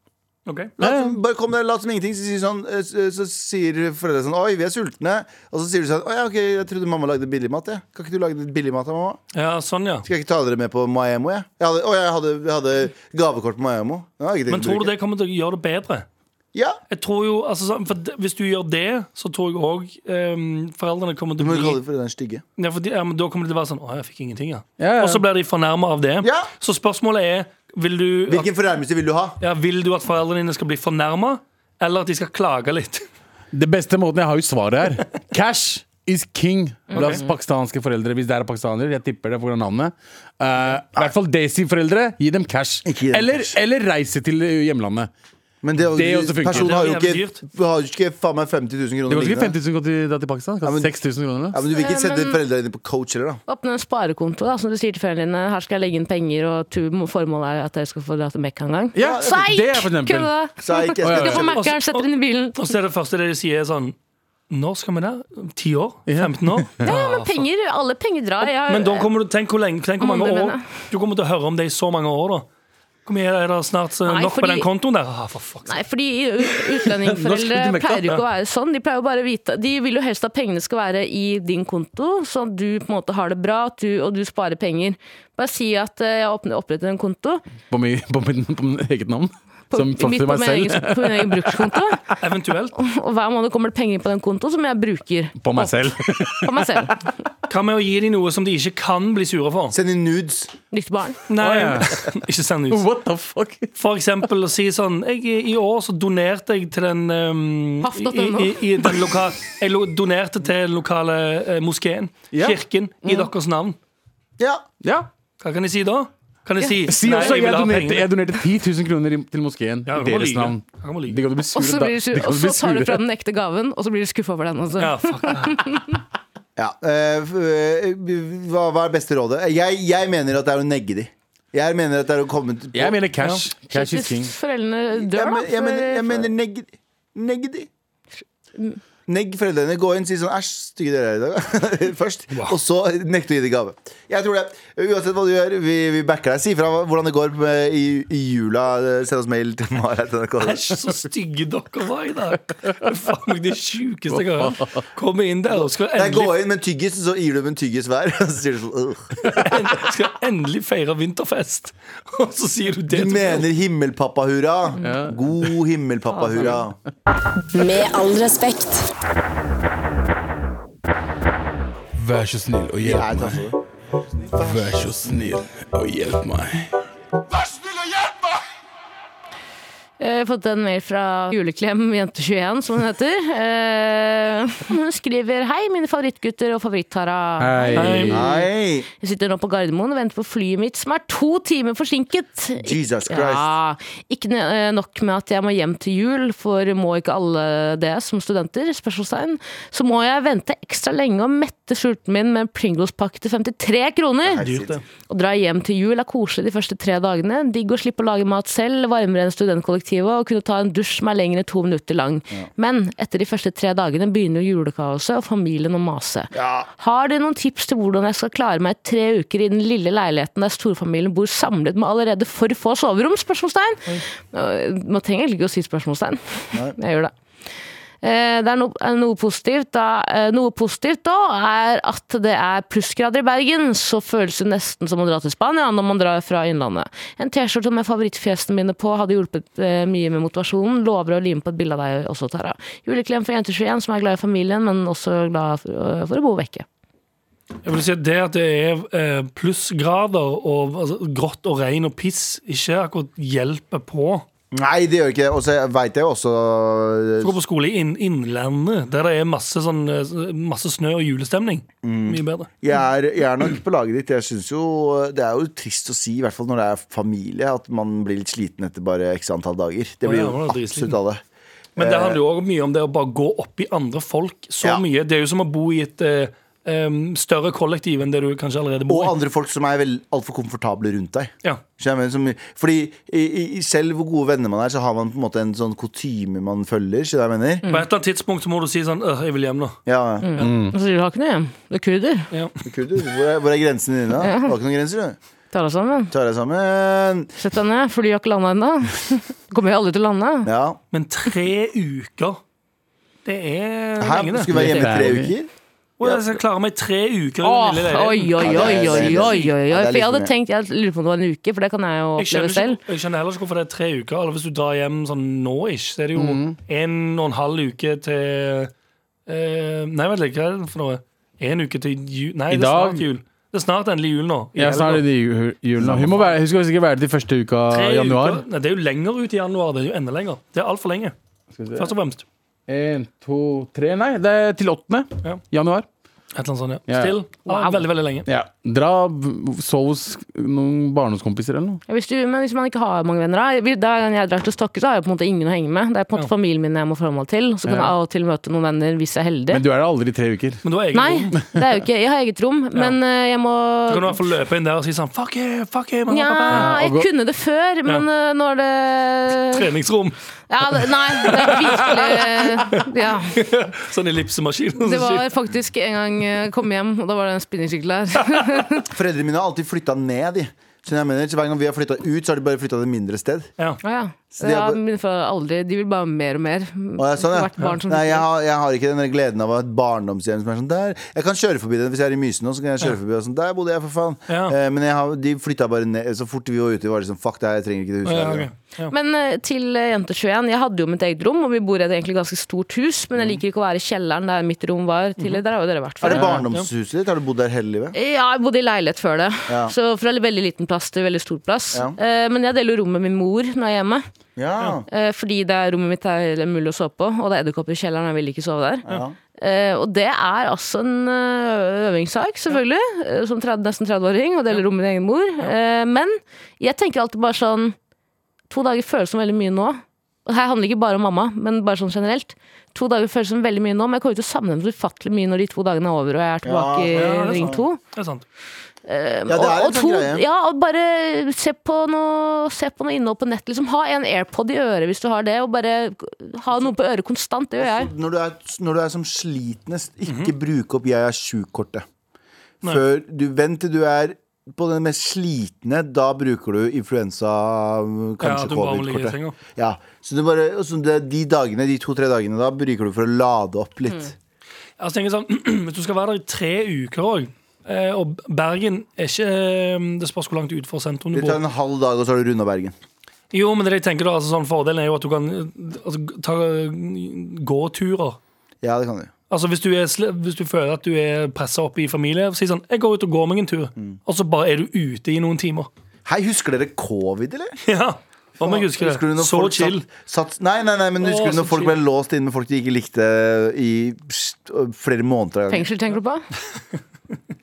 D: Ok.
B: Lat som, bare kom der, lat som ingenting. Så sier, sånn, eh, så, så sier foreldrene sånn Oi, vi er sultne. Og så sier du sånn Å ja, ok, jeg trodde mamma lagde billigmat, jeg. Kan ikke du lage litt billigmat av mamma?
D: Ja, sånn, ja.
B: Skal jeg ikke ta dere med på Maemo, jeg? jeg hadde, å, jeg hadde, jeg hadde gavekort på Maemo.
D: Men tror du det kommer til å gjøre det bedre?
B: Ja.
D: Jeg tror jo, altså, sånn, for d- Hvis du gjør det, så tror jeg òg foreldrene kommer
B: Du
D: til å
B: må jo
D: bli
B: kalle det for den stygge.
D: ja, for de, ja, men Da kommer det til å være sånn Å, jeg fikk ingenting, ja.
C: Ja, ja.
D: Og så blir de fornærma av det.
B: Ja.
D: Så spørsmålet er Vil du at,
B: Hvilken fornærmelse vil du ha?
D: ja, vil du at foreldrene dine skal bli fornærma, eller at de skal klage litt?
C: Det beste måten jeg har jo svaret her. Cash is king. La oss pakistanske foreldre, hvis det er pakistanere. Jeg tipper det pga. navnet. Eh, I hvert fall Daisy-foreldre. Gi dem cash.
B: Ikke gi dem
C: eller,
B: cash.
C: eller reise til eh, hjemlandet.
B: Men det,
C: Det også funker.
B: personen har jo
D: Det er jævlig
B: ikke, har jo ikke faen meg 50 000 kroner
C: Det koster ikke
B: liggende.
C: 50 000 kroner til- da til Pakistan. Det
B: Ja, men-
C: koster 6000 kroner. eller?
B: Ja, men du vil ikke sende
E: Men-
B: foreldrene dine på coach heller, da.
E: Åpne en sparekonto, da, som du sier til foreldrene dine. Her skal jeg legge inn penger, og tu- formålet er at dere skal få dra til Mekka en gang.
C: Ja, det er for eksempel.
E: Kødda!
B: Så jeg ikke, jeg
C: Å,
E: Skal
B: skal ikke
E: på Mekka, setter inn i bilen.
D: Og så er det første dere sier, er sånn Når skal vi der? 10 år? 15 år?
E: Ja, ja, men penger, alle penger drar. Jeg,
D: Men da kommer du, tenk hvor lenge Tenk hvor mange
E: Om det
D: år
E: mener.
D: Du kommer til å høre om det i så mange år, da. Hvor mye er det snart eh,
E: Nei,
D: nok
E: fordi-
D: på den kontoen der? Ah, for fuck.
E: Nei, fordi u-
C: Nå skal
E: utlendingforeldre
C: du til Mekka.
E: pleier jo ikke å være sånn. De pleier jo bare å vite De vil jo helst at pengene skal være i din konto, sånn at du på en måte har det bra, at du, og du sparer penger. Bare si at eh, jeg har åpnet- opprettet en konto
C: På, mi, på, min, på min eget navn.
E: på,
C: som
E: mitt
C: fronter
E: på,
C: meg
E: min
C: selv.
E: egen, på min egen brukskonto,
D: Eventuelt.
E: og hver måned kommer det penger på den kontoen som jeg bruker
C: På meg selv.
E: på meg selv.
D: Hva med å gi dem noe som de ikke kan bli sure for?
B: Send inn nudes.
E: Nytt barn.
D: Nei,
C: Å,
D: ikke send ut.
C: What the fuck?
D: For eksempel å si sånn jeg, I år så donerte jeg til den um,
E: Paff.no.
D: i, i, i den loka, Jeg lo, donerte til den lokale eh, moskeen,
C: Ja.
D: kirken, i deres navn.
B: Ja.
C: Ja.
D: Hva kan jeg si da? Kan jeg si
C: Si også
D: vil
C: jeg
D: ha
C: donerte,
D: pengene».
C: jeg donerte 10 000 kroner i- til moskeen
D: Ja,
C: i
D: han må
C: deres
D: lyge.
C: navn.
D: Han må lyge.
C: De kan bli
E: Og
C: sure
E: så
C: da.
E: blir du sur,
C: De kan
E: og
C: bli
E: så tar du
C: sure.
E: fra den ekte gaven, og så blir du skuffa over den. Også.
D: Ja, fuck.
B: ja. Eh, f- eh, hva, hva er beste rådet? Eh, Jeg, jeg mener at det er å negge de. Jeg mener at det er å komme til
C: Jeg mener cash. Cash is
E: Hvis
C: king.
E: foreldrene
B: jeg,
E: dør, da.
B: men- jeg mener, jeg
E: for-
B: mener negg, negg de. Negg foreldrene. Gå inn og si sånn æsj, stygge dere er i dag. Først. Og så nekte å gi dem gave. Jeg tror det. Uansett hva du gjør, vi, vi backer deg. Si fra hvordan det går med, i, i jula. Send oss mail til mara.nrk.
D: Æsj, så stygge dere var i dag. Det er Faen meg det sjukeste jeg har hørt. Komme inn der og skal
B: Jeg går
D: endelig,
B: inn med en tyggis, så gir du dem en tyggis hver. Og så sier du sånn «Ugh».
D: skal endelig feire vinterfest, og så sier du det
B: Du
D: til meg.
B: mener himmelpappa-hurra. God himmelpappa-hurra.
F: Med all respekt.
C: Vær så snill og
B: Jeg tar for det.
C: Vær så snill og hjelp meg.
E: Eh, Jeg har fått en mail fra Juleklem jente21, som hun heter. Eh, Hun skriver 'Hei, mine favorittgutter og favorittara'.
C: Hei.
B: Nei!
E: Jeg sitter nå på Gardermoen og venter på flyet mitt, som er to timer forsinket.
B: Jesus Christ.
E: Ja, ikke ne- eh, nok med at jeg må hjem til jul, for må ikke alle det som studenter? Spørsmålstegn. Så må jeg vente ekstra lenge og mette sulten min med en Pringles-pakke til 53 kroner.
D: Dyrt, det.
E: Å dra hjem til jul er koselig de første tre dagene. Digg å slippe å lage mat selv, varmere enn studentkollektivet og kunne ta en dusj som er lenger enn to minutter lang. Men etter de første tre dagene begynner jo julekaoset og familien å mase. Har dere noen tips til hvordan jeg skal klare meg i tre uker i den lille leiligheten der storfamilien bor samlet med allerede for få soverom? Spørsmålstegn. Øh, Man trenger egentlig ikke å si spørsmålstegn. Jeg gjør det. Eh, Det er noe, er noe positivt da, eh, noe positivt da er at det er plussgrader i Bergen, så føles det nesten som å dra til Spania når man drar fra innlandet. En T-skjorte med favorittfjesene mine på hadde hjulpet eh, mye med motivasjonen. Lover å lime på et bilde av deg også, Tara. Juleklem for jenter 21 som er glad i familien, men også glad for, øh, for å bo vekke.
D: Jeg vil si at Det at det er eh, plussgrader og altså, grått og regn og piss, ikke akkurat hjelper på.
B: Nei, det gjør ikke det. Og så veit jeg jo også
D: Du går på skole i inn, Innlandet, der det er masse, sånn, eh, masse snø og julestemning.
B: Mm.
D: Mye bedre.
B: jeg er, jeg er nok på laget ditt. Jeg synes jo Det er jo trist å si, i hvert fall når det er familie, at man blir litt sliten etter bare x antall dager. Det blir
D: Ja,
B: jo
D: man er
B: absolutt
D: dritsliten.
B: alle.
D: Men det handler jo også mye om det å bare gå opp i andre folk så
B: Eh, Ja.
D: mye. Det er jo som å bo i et eh, em, større kollektiv enn det du kanskje allerede
B: Og
D: bor i.
B: andre folk som er vel altfor komfortable rundt deg.
D: Ja.
B: Skjønner jeg mener, som, fordi i, i, selv hvor gode venner man er, så har man på en måte en sånn kutyme man følger. Skjønner du hva jeg mener?
D: På et eller annet tidspunkt så må du si sånn «Øh, 'Jeg vil hjem nå'.
B: Ja,
E: Så du har ikke noe hjem? Du er kurder?
D: Ja.
B: Kult, du. hvor, er, hvor er grensene dine? da? Du har ikke noen grenser, du.
E: Ta deg sammen.
B: Tar deg sammen.
E: Sett deg ned, for du har ikke landa ennå. Kommer jo aldri til å lande.
B: Ja.
D: Men tre uker Det er
B: Hæ?
D: lenge,
B: Du
D: det.
B: skulle være hjemme i tre uker?
D: Og jeg skal klare meg i tre uker. i
E: Åh,
D: den
E: Oi,
D: lille
E: oi,
D: leiligheten.
B: Ja,
E: oi,
B: det er-
E: oi, oi, oi,
B: Ja, det er
E: For jeg hadde
B: litt mye.
E: tenkt, jeg lurer på om det var en uke, for det kan jeg
D: Jeg
E: jo oppleve
D: skjønner,
E: selv.
D: ikke, jeg skjønner heller ikke hvorfor det er tre uker. Eller hvis du drar hjem sånn nå ish, så er det jo
B: Mm.
D: en og en halv uke til eh, Nei, vent litt, hva er det for noe? En uke til jul Nei,
C: I
D: det er
C: dag-
D: snart jul. Det er snart endelig jul nå. I
C: Jeg
D: helga.
C: snart i de ju- julene. Hun, må være, hun skal sikkert være der de første uka
D: Tre
C: i januar.
D: Uker. Nei, det er jo lenger ut i januar. Det er jo enda lenger. Det er altfor lenge. Først og fremst.
C: En, to, tre Nei, det er til åttende
D: Ja.
C: januar.
D: Et eller annet sånt, ja.
C: Ja.
D: Still. Ja,
E: Wow.
D: Veldig, veldig lenge.
C: Ja. Dra v- sov hos noen barndomskompiser eller noe.
E: Ja, hvis du, men hvis man ikke har mange venner, da vi- Da jeg drar til Stokke, så har jeg på en måte ingen å henge med. Det er på en måte
D: Ja.
E: familien min jeg må forholde meg til. Så kan jeg
C: Ja.
E: av og til møte noen venner hvis jeg er heldig.
C: Men du er der aldri i tre uker.
D: Men da er jeg
E: Nei, det er jo ikke, jeg har eget rom, men eh, jeg må
D: Så kan du i hvert fall løpe inn der og si sånn Fuck you, fuck you, mamma og pappa.
E: Nja, jeg
C: og gå-
E: kunne det før, men eh, når det
D: Treningsrom.
E: Ja, det, nei, det er virkelig Ja.
D: Sånn ellipsemaskin.
E: Det var faktisk en gang eh, jeg kom hjem, og da var det en spinningsykkel der.
B: Foreldrene mine har alltid flytta ned, de. Så jeg mener, så hver gang vi har flytta ut, så har de bare flytta til et mindre sted.
D: Ja.
E: Å ja.
B: Så de har
E: ja,
B: bare-
E: mine foreldre har aldri De vil bare mer og mer.
B: Og jeg, er sånn, ja.
E: Hvert barn som
B: Nei, jeg, har, jeg har ikke den der gleden av å ha et barndomshjem som er sånn der. Jeg kan kjøre forbi den hvis jeg er i Mysen nå, så kan jeg kjøre forbi og sånn. Der bodde jeg, for faen.
D: Ja.
B: Eh, men jeg har, de flytta bare ned. Så fort vi var ute, var det sånn fuck det her, jeg trenger ikke det huset.
D: Ja,
B: her.
D: ok. ja.
E: Men eh, til eh, Jente 21, jeg hadde jo mitt eget rom, og vi bor i et egentlig ganske stort hus, men jeg liker ikke å være i kjelleren der mitt rom var tidligere. Der har jo dere vært
B: Mm. Mhm. Er
E: før.
B: det barndomshuset ditt? Har du bodd der hele livet?
E: Ja, jeg bodde i leilighet før det.
B: Ja.
E: Så fra veldig liten plass til veldig stor plass.
B: Ja.
E: Eh, Men jeg deler jo rom med min mor når jeg er hjemme,
B: Ja.
E: eh, fordi det er rommet mitt er mulig å sove på, og det er edderkopper i kjelleren, og jeg vil ikke sove der.
B: Ja.
E: Eh, og det er altså en eh, øvingssak, selvfølgelig, eh, som 30, nesten 30-åring, og deler rom med din egen mor. Eh, men jeg tenker alltid bare sånn To dager føles som veldig mye nå. Og her handler det ikke bare om mamma, men bare sånn generelt. To dager føles som veldig mye nå, men jeg kommer til å savne dem så ufattelig mye når de to dagene er over og jeg er tilbake
B: Ja,
D: ja, det er
E: i ring
D: sant.
E: to. Eh,
D: Det er sant.
B: Ja, det er
E: og,
B: en sånn
E: og to,
B: greie.
E: ja, og bare se på noe, se på noe innhold på nett. Liksom, ha en AirPod i øret hvis du har det, og bare ha noe på øret konstant. Det gjør jeg.
B: Når du, er, når du er som slitnest, ikke
D: Mhm.
B: bruk opp 'jeg er sjuk'-kortet. Før du Vent til du er på den mest slitne, da bruker du influensa,
D: Ja,
B: kanskje
D: at du bare må ligge i
B: covid-kortet.
D: senga.
B: Ja, så det bare, og så det, De dagene, de to-tre dagene da bruker du for å lade opp litt.
D: Altså, tenker jeg sånn, Hvis du skal være der i tre uker òg, og Bergen er ikke eh, Det spørs hvor langt utenfor sentrum du
B: Det tar
D: bor.
B: en halv dag, og så har du runda Bergen.
D: Jo, men det jeg tenker da, altså, sånn Fordelen er jo at du kan eh, altså, ta eh, gåturer.
B: Ja, det kan du.
D: Altså hvis du, er, sl- hvis du føler at du er pressa opp i familie, si sånn 'Jeg går ut og går meg en tur',
B: Mm.
D: og så bare er du ute i noen timer.
B: Hei, husker dere covid, eller?
D: Ja, Om jeg husker det.
B: du når
D: så
B: folk
D: chill.
B: Satt, satt, nei, nei, nei, men
D: Å,
B: husker du
D: så
B: når folk
D: chill.
B: ble låst inne med folk de ikke likte i pst, flere måneder av gangen?
E: Fengsel, tenker du på?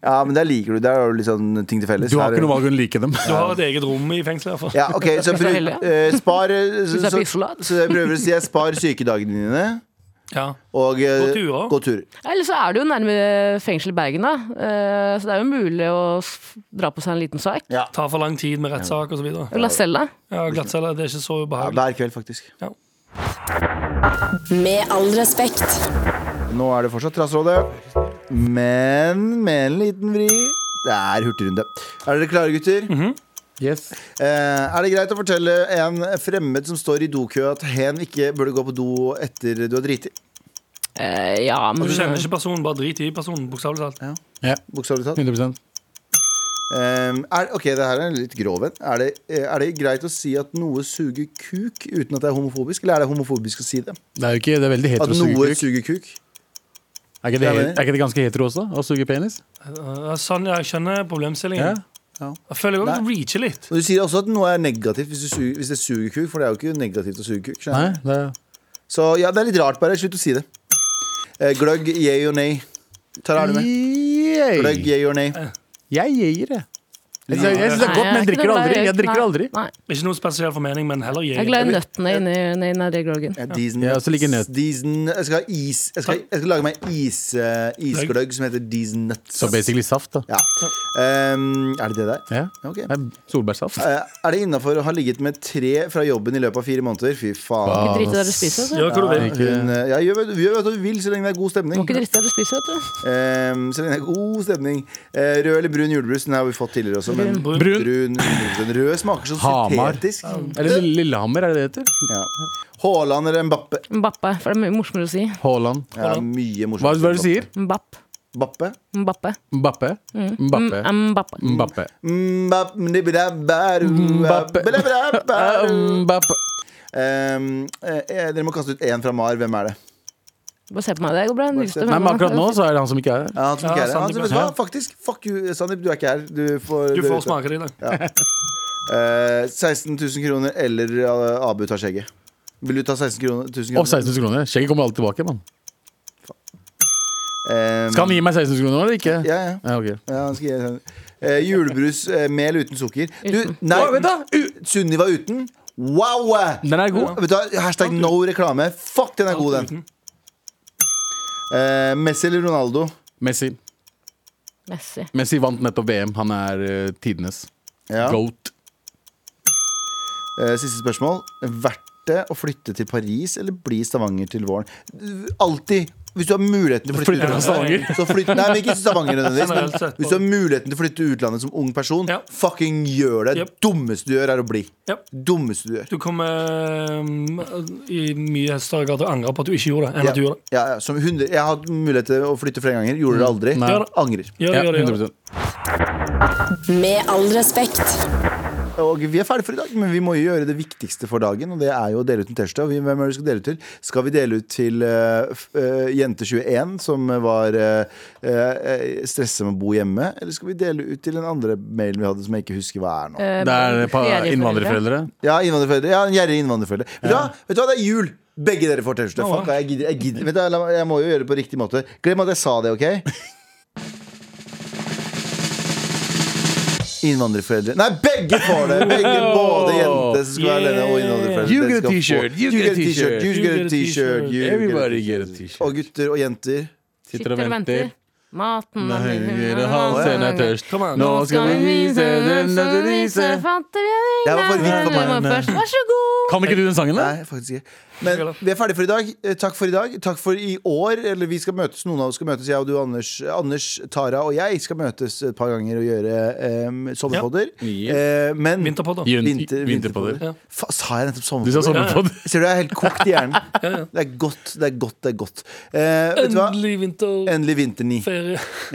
B: Ja, men der liker du. Der har du litt sånn ting til felles.
C: Du har
B: Her-
C: ikke noe valg å like dem.
D: Du har et eget rom i fengselet, i hvert fall.
B: Ja, ok, så
E: så
B: bruk,
E: heldig,
B: eh, spar eh, så,
E: Hvis det er
B: så,
E: pizzolat.
B: så jeg prøver å si jeg spar sykedagene dine
D: Ja.
B: og eh,
D: Gå turer.
B: gå turer.
E: Eller så er det jo nærme fengsel i Bergen, da. Eh, Så det er jo mulig å s- dra på seg en liten sak.
B: Ja.
D: Ta for lang tid med rettssak osv.
E: La selv da.
D: Ja, glattcelle det er ikke så
B: Ja,
D: ubehagelig.
B: hver kveld, faktisk.
D: Ja.
F: Med all respekt.
B: Nå er det fortsatt Trassrådet, men med en liten vri. Det er hurtigrunde. Er dere klare, gutter?
C: Yes.
B: Eh, er det greit å fortelle en fremmed som står i dokø, at hen ikke burde gå på do etter du har driti?
E: Eh, Ja, men
D: Du kjenner ikke personen, bare drit i personen, bokstavelig talt.
C: Ja,
B: Bokstavelig talt.
C: 100
B: Ehm, er, ok, det her er en litt grov en. Er, det- eh, er det greit å si at noe suger kuk uten at det er homofobisk, eller er det homofobisk å si det?
C: Det er jo ikke, det er veldig
B: At
C: hetero å suge
B: noe
C: kuk.
B: suger kuk?
C: Er ikke det,
B: Ja, men-
C: er ikke det ganske hetero også? Å suge penis?
D: Eh, Sånn, ja, jeg skjønner
C: Ja.
D: problemstillingen. Jeg føler jeg også
B: Nei.
D: reacher litt.
B: Og Du sier også at noe er negativt hvis, du suger, hvis det suger kuk, for det er jo ikke negativt å suge kuk. skjønner
C: Nei,
B: du?
C: det er
B: Så ja, det er litt rart, bare. Slutt å si det. Eh, gløgg, yay og nei. Tar er du med? Gløgg,
C: Yay.
B: yay og nei.
C: Jeg gir det. Jeg synes, jeg synes det er
E: Nei,
C: godt, men jeg
E: er ikke
C: drikker
E: noe glad i
C: aldri. Jeg
E: røyk,
C: drikker
E: nei.
C: aldri.
E: Nei.
D: Ikke noe spesiell formening, men heller
E: Jeg er
D: jeg.
E: glad i nøttene inni inni den der groggen.
B: Ja, Diesen,
C: Ja, og så ligger nøt.
B: Diesen, jeg, skal ha is, jeg, skal, jeg skal lage meg is, eh, isgløgg som heter Diesen Nuts.
C: Så basically saft, da.
B: Ja. Ehm, er det det der?
C: Ja.
B: Ok.
C: Det er Solbærsaft.
B: Eh, er det innafor å ha ligget med tre fra jobben i løpet av fire måneder? Fy faen.
C: Wow.
E: Ikke dritt i det du spiser, altså. vet du.
D: Gjør hva du vil.
B: Hun, eh, ja, gjør, hva- gjør hva du vil, så lenge det er god
E: Du må
B: stemning.
E: ikke drite i det du spiser, vet du.
B: Ehm, så lenge det er god stemning. Eh, rød eller brun julebrus? Den har vi fått tidligere også. Men
D: Brun.
C: Brun.
B: brun, den røde smaker så
C: Hamar.
B: syntetisk.
C: Eller Lille- Lillehammer, er det det heter?
B: Ja. Haaland eller Mbappe?
E: Mbappe, for det er mye morsommere å si.
C: Haaland.
B: Ja, mye morsomt.
C: Hva, hva er det du sier?
E: Mbapp.
B: Mbappe?
E: Mbappe.
C: Mbappe? Mbappe.
E: Mm, Mbappe.
C: Mbappe.
B: Mbapp- mdibidabbaru-
C: Mbappe. Eh,
B: bidabbaru.
C: Mbappe.
B: Ehm, eh, Dere må kaste ut én fra Mar. Hvem er det?
E: Bare se på meg, det går bra.
B: se på
C: Nei, men akkurat nå så er det han som ikke er her.
B: Ja, han som ikke
D: Ja,
B: er her. Han,
D: Sandeep,
B: vet du hva? Faktisk, fuck you, Sandeep. Du er ikke her. Du får,
D: Du
B: dere
D: får
B: ute.
D: smake det i dag.
B: Eh, 16 000 kroner eller eh, Abu tar skjegget. Vil du ta 16 kroner? 000 kroner?
C: Og 16 000 kroner. Skjegget kommer alltid tilbake, mann.
B: Eh,
C: Skal han gi meg 16 kroner eller ikke?
B: Ja, ja.
C: Ja, ok.
B: ja, han skal gi- Eh, julebrus eh, med eller uten sukker. Du, nei,
C: Å, vent da! U-
B: Sunniva uten. Wow!
C: Den er god.
B: Vet du, hva? hashtag no reklame. Fuck, den er god, den. Eh, Messi eller Ronaldo?
C: Messi.
E: Messi.
C: Messi vant nettopp VM. Han er eh, tidenes
B: Ja.
C: goat.
B: Eh, siste spørsmål. Verdt det å flytte til Paris eller bli i Stavanger til våren? Alltid! Hvis du har muligheten til å flytte
C: Flytter fra Stavanger.
B: Så flytt, nei, men ikke Stavanger nødvendigvis.
D: Generelt
B: Men
D: sett,
B: hvis du har muligheten til å flytte til utlandet som ung person,
D: Ja.
B: fucking gjør det.
D: Yep.
B: Dummeste du gjør, er å bli.
D: Yep.
B: Dummeste du gjør.
D: Du kommer um, i mye større grad til å angre på at du ikke gjorde det, enn
B: Ja,
D: at du gjorde det.
B: ja, ja, som hundre, jeg har hatt mulighet til å flytte flere ganger. Gjorde det aldri.
C: Nei.
B: Angrer.
D: Gjør det, gjør det, gjør det.
C: 100%.
F: Med all respekt.
B: Og vi er ferdige for i dag, men vi må jo gjøre det viktigste for dagen. Og det er jo å dele ut en T-skjorte. Og vi- hvem er det vi skal dele ut til? Skal vi dele ut til eh, f- eh, Jente21, som var uh, stressa med å bo hjemme? Eller skal vi dele ut til den andre mailen vi hadde, som jeg ikke husker hva er nå?
E: Eh,
C: Det er et par
E: ferieforeldre.
C: innvandrerforeldre.
B: Ja, innvandrerforeldre. Ja, en gjerrig innvandrerforeldre. Vet, du hva? vet du hva, det er jul! Begge dere får T-skjorte. Fuck, jeg gidder, jeg gidder. Vet du, hva, la meg- jeg må jo gjøre det på riktig måte. Glem at jeg sa det, OK? Innvandrerforeldre Nei, begge får det! Begge,
C: Oh,
B: Både jente som skal være alene, og innvandrerforeldre.
C: You get a
B: skal få-
C: t-shirt, you get a t-shirt,
B: You get a t-shirt. you get a
C: Everybody
B: t-shirt.
C: get a t-shirt.
B: Og gutter og jenter.
E: Sitter og venter. Maten
C: Nei, halsen er tørst.
D: Kom an.
C: Nå skal vi vise den skal vi vise
B: Det her var for vidt for meg.
E: Du må først, Vær så god!
C: Kan ikke du den sangen, da?
B: Nei, faktisk ikke. Men vi er ferdige for i dag. Eh, Takk for i dag. Takk for i år. Eller vi skal møtes, noen av oss skal møtes, jeg og du, Anders. Anders, Tara og jeg skal møtes et par ganger og gjøre eh, sommerpodder.
C: Ja.
B: Eh, men
D: Vinterpodder.
C: Jun-
B: Vinter-
C: Vinterpodder.
D: Ja.
B: Fa, sa jeg nettopp
C: Du sa
B: sommerpodder?
C: sommerpod.
B: Ser du, jeg er helt kokt i hjernen. Det er godt, det er godt, det er godt. Eh, vet du hva?
D: Endelig vinterferie.
B: Endelig vinterni.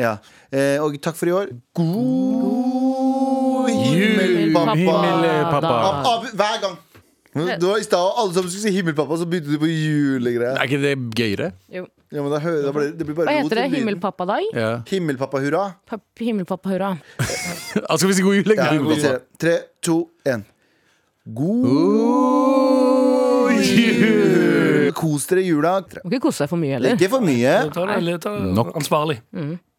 B: Ja. Eh, og takk for i år. God
C: Jul,
B: pappa. Av-
C: himmelpappa.
E: Ah.
B: av- Hver gang. Det var i stad, og alle som skulle si 'himmelpappa', så begynte du på julegreier.
C: Er ikke det gøyere?
E: Jo.
B: Ja, men da hører, da blir, det blir bare
E: Hva
B: rot
E: heter det?
B: i lyden.
E: Himmelpappadag?
C: Ja.
B: Himmelpappa hurra.
E: Papp- Himmelpappa hurra.
C: Ah, skal vi si god jul?
B: Ja, vi
C: Ja,
B: ser det. Tre, to, én. God Kos dere i jula.
E: Må ikke kose deg for mye heller.
B: Ikke for mye.
D: Ta det, ta det
C: Nok.
D: ansvarlig.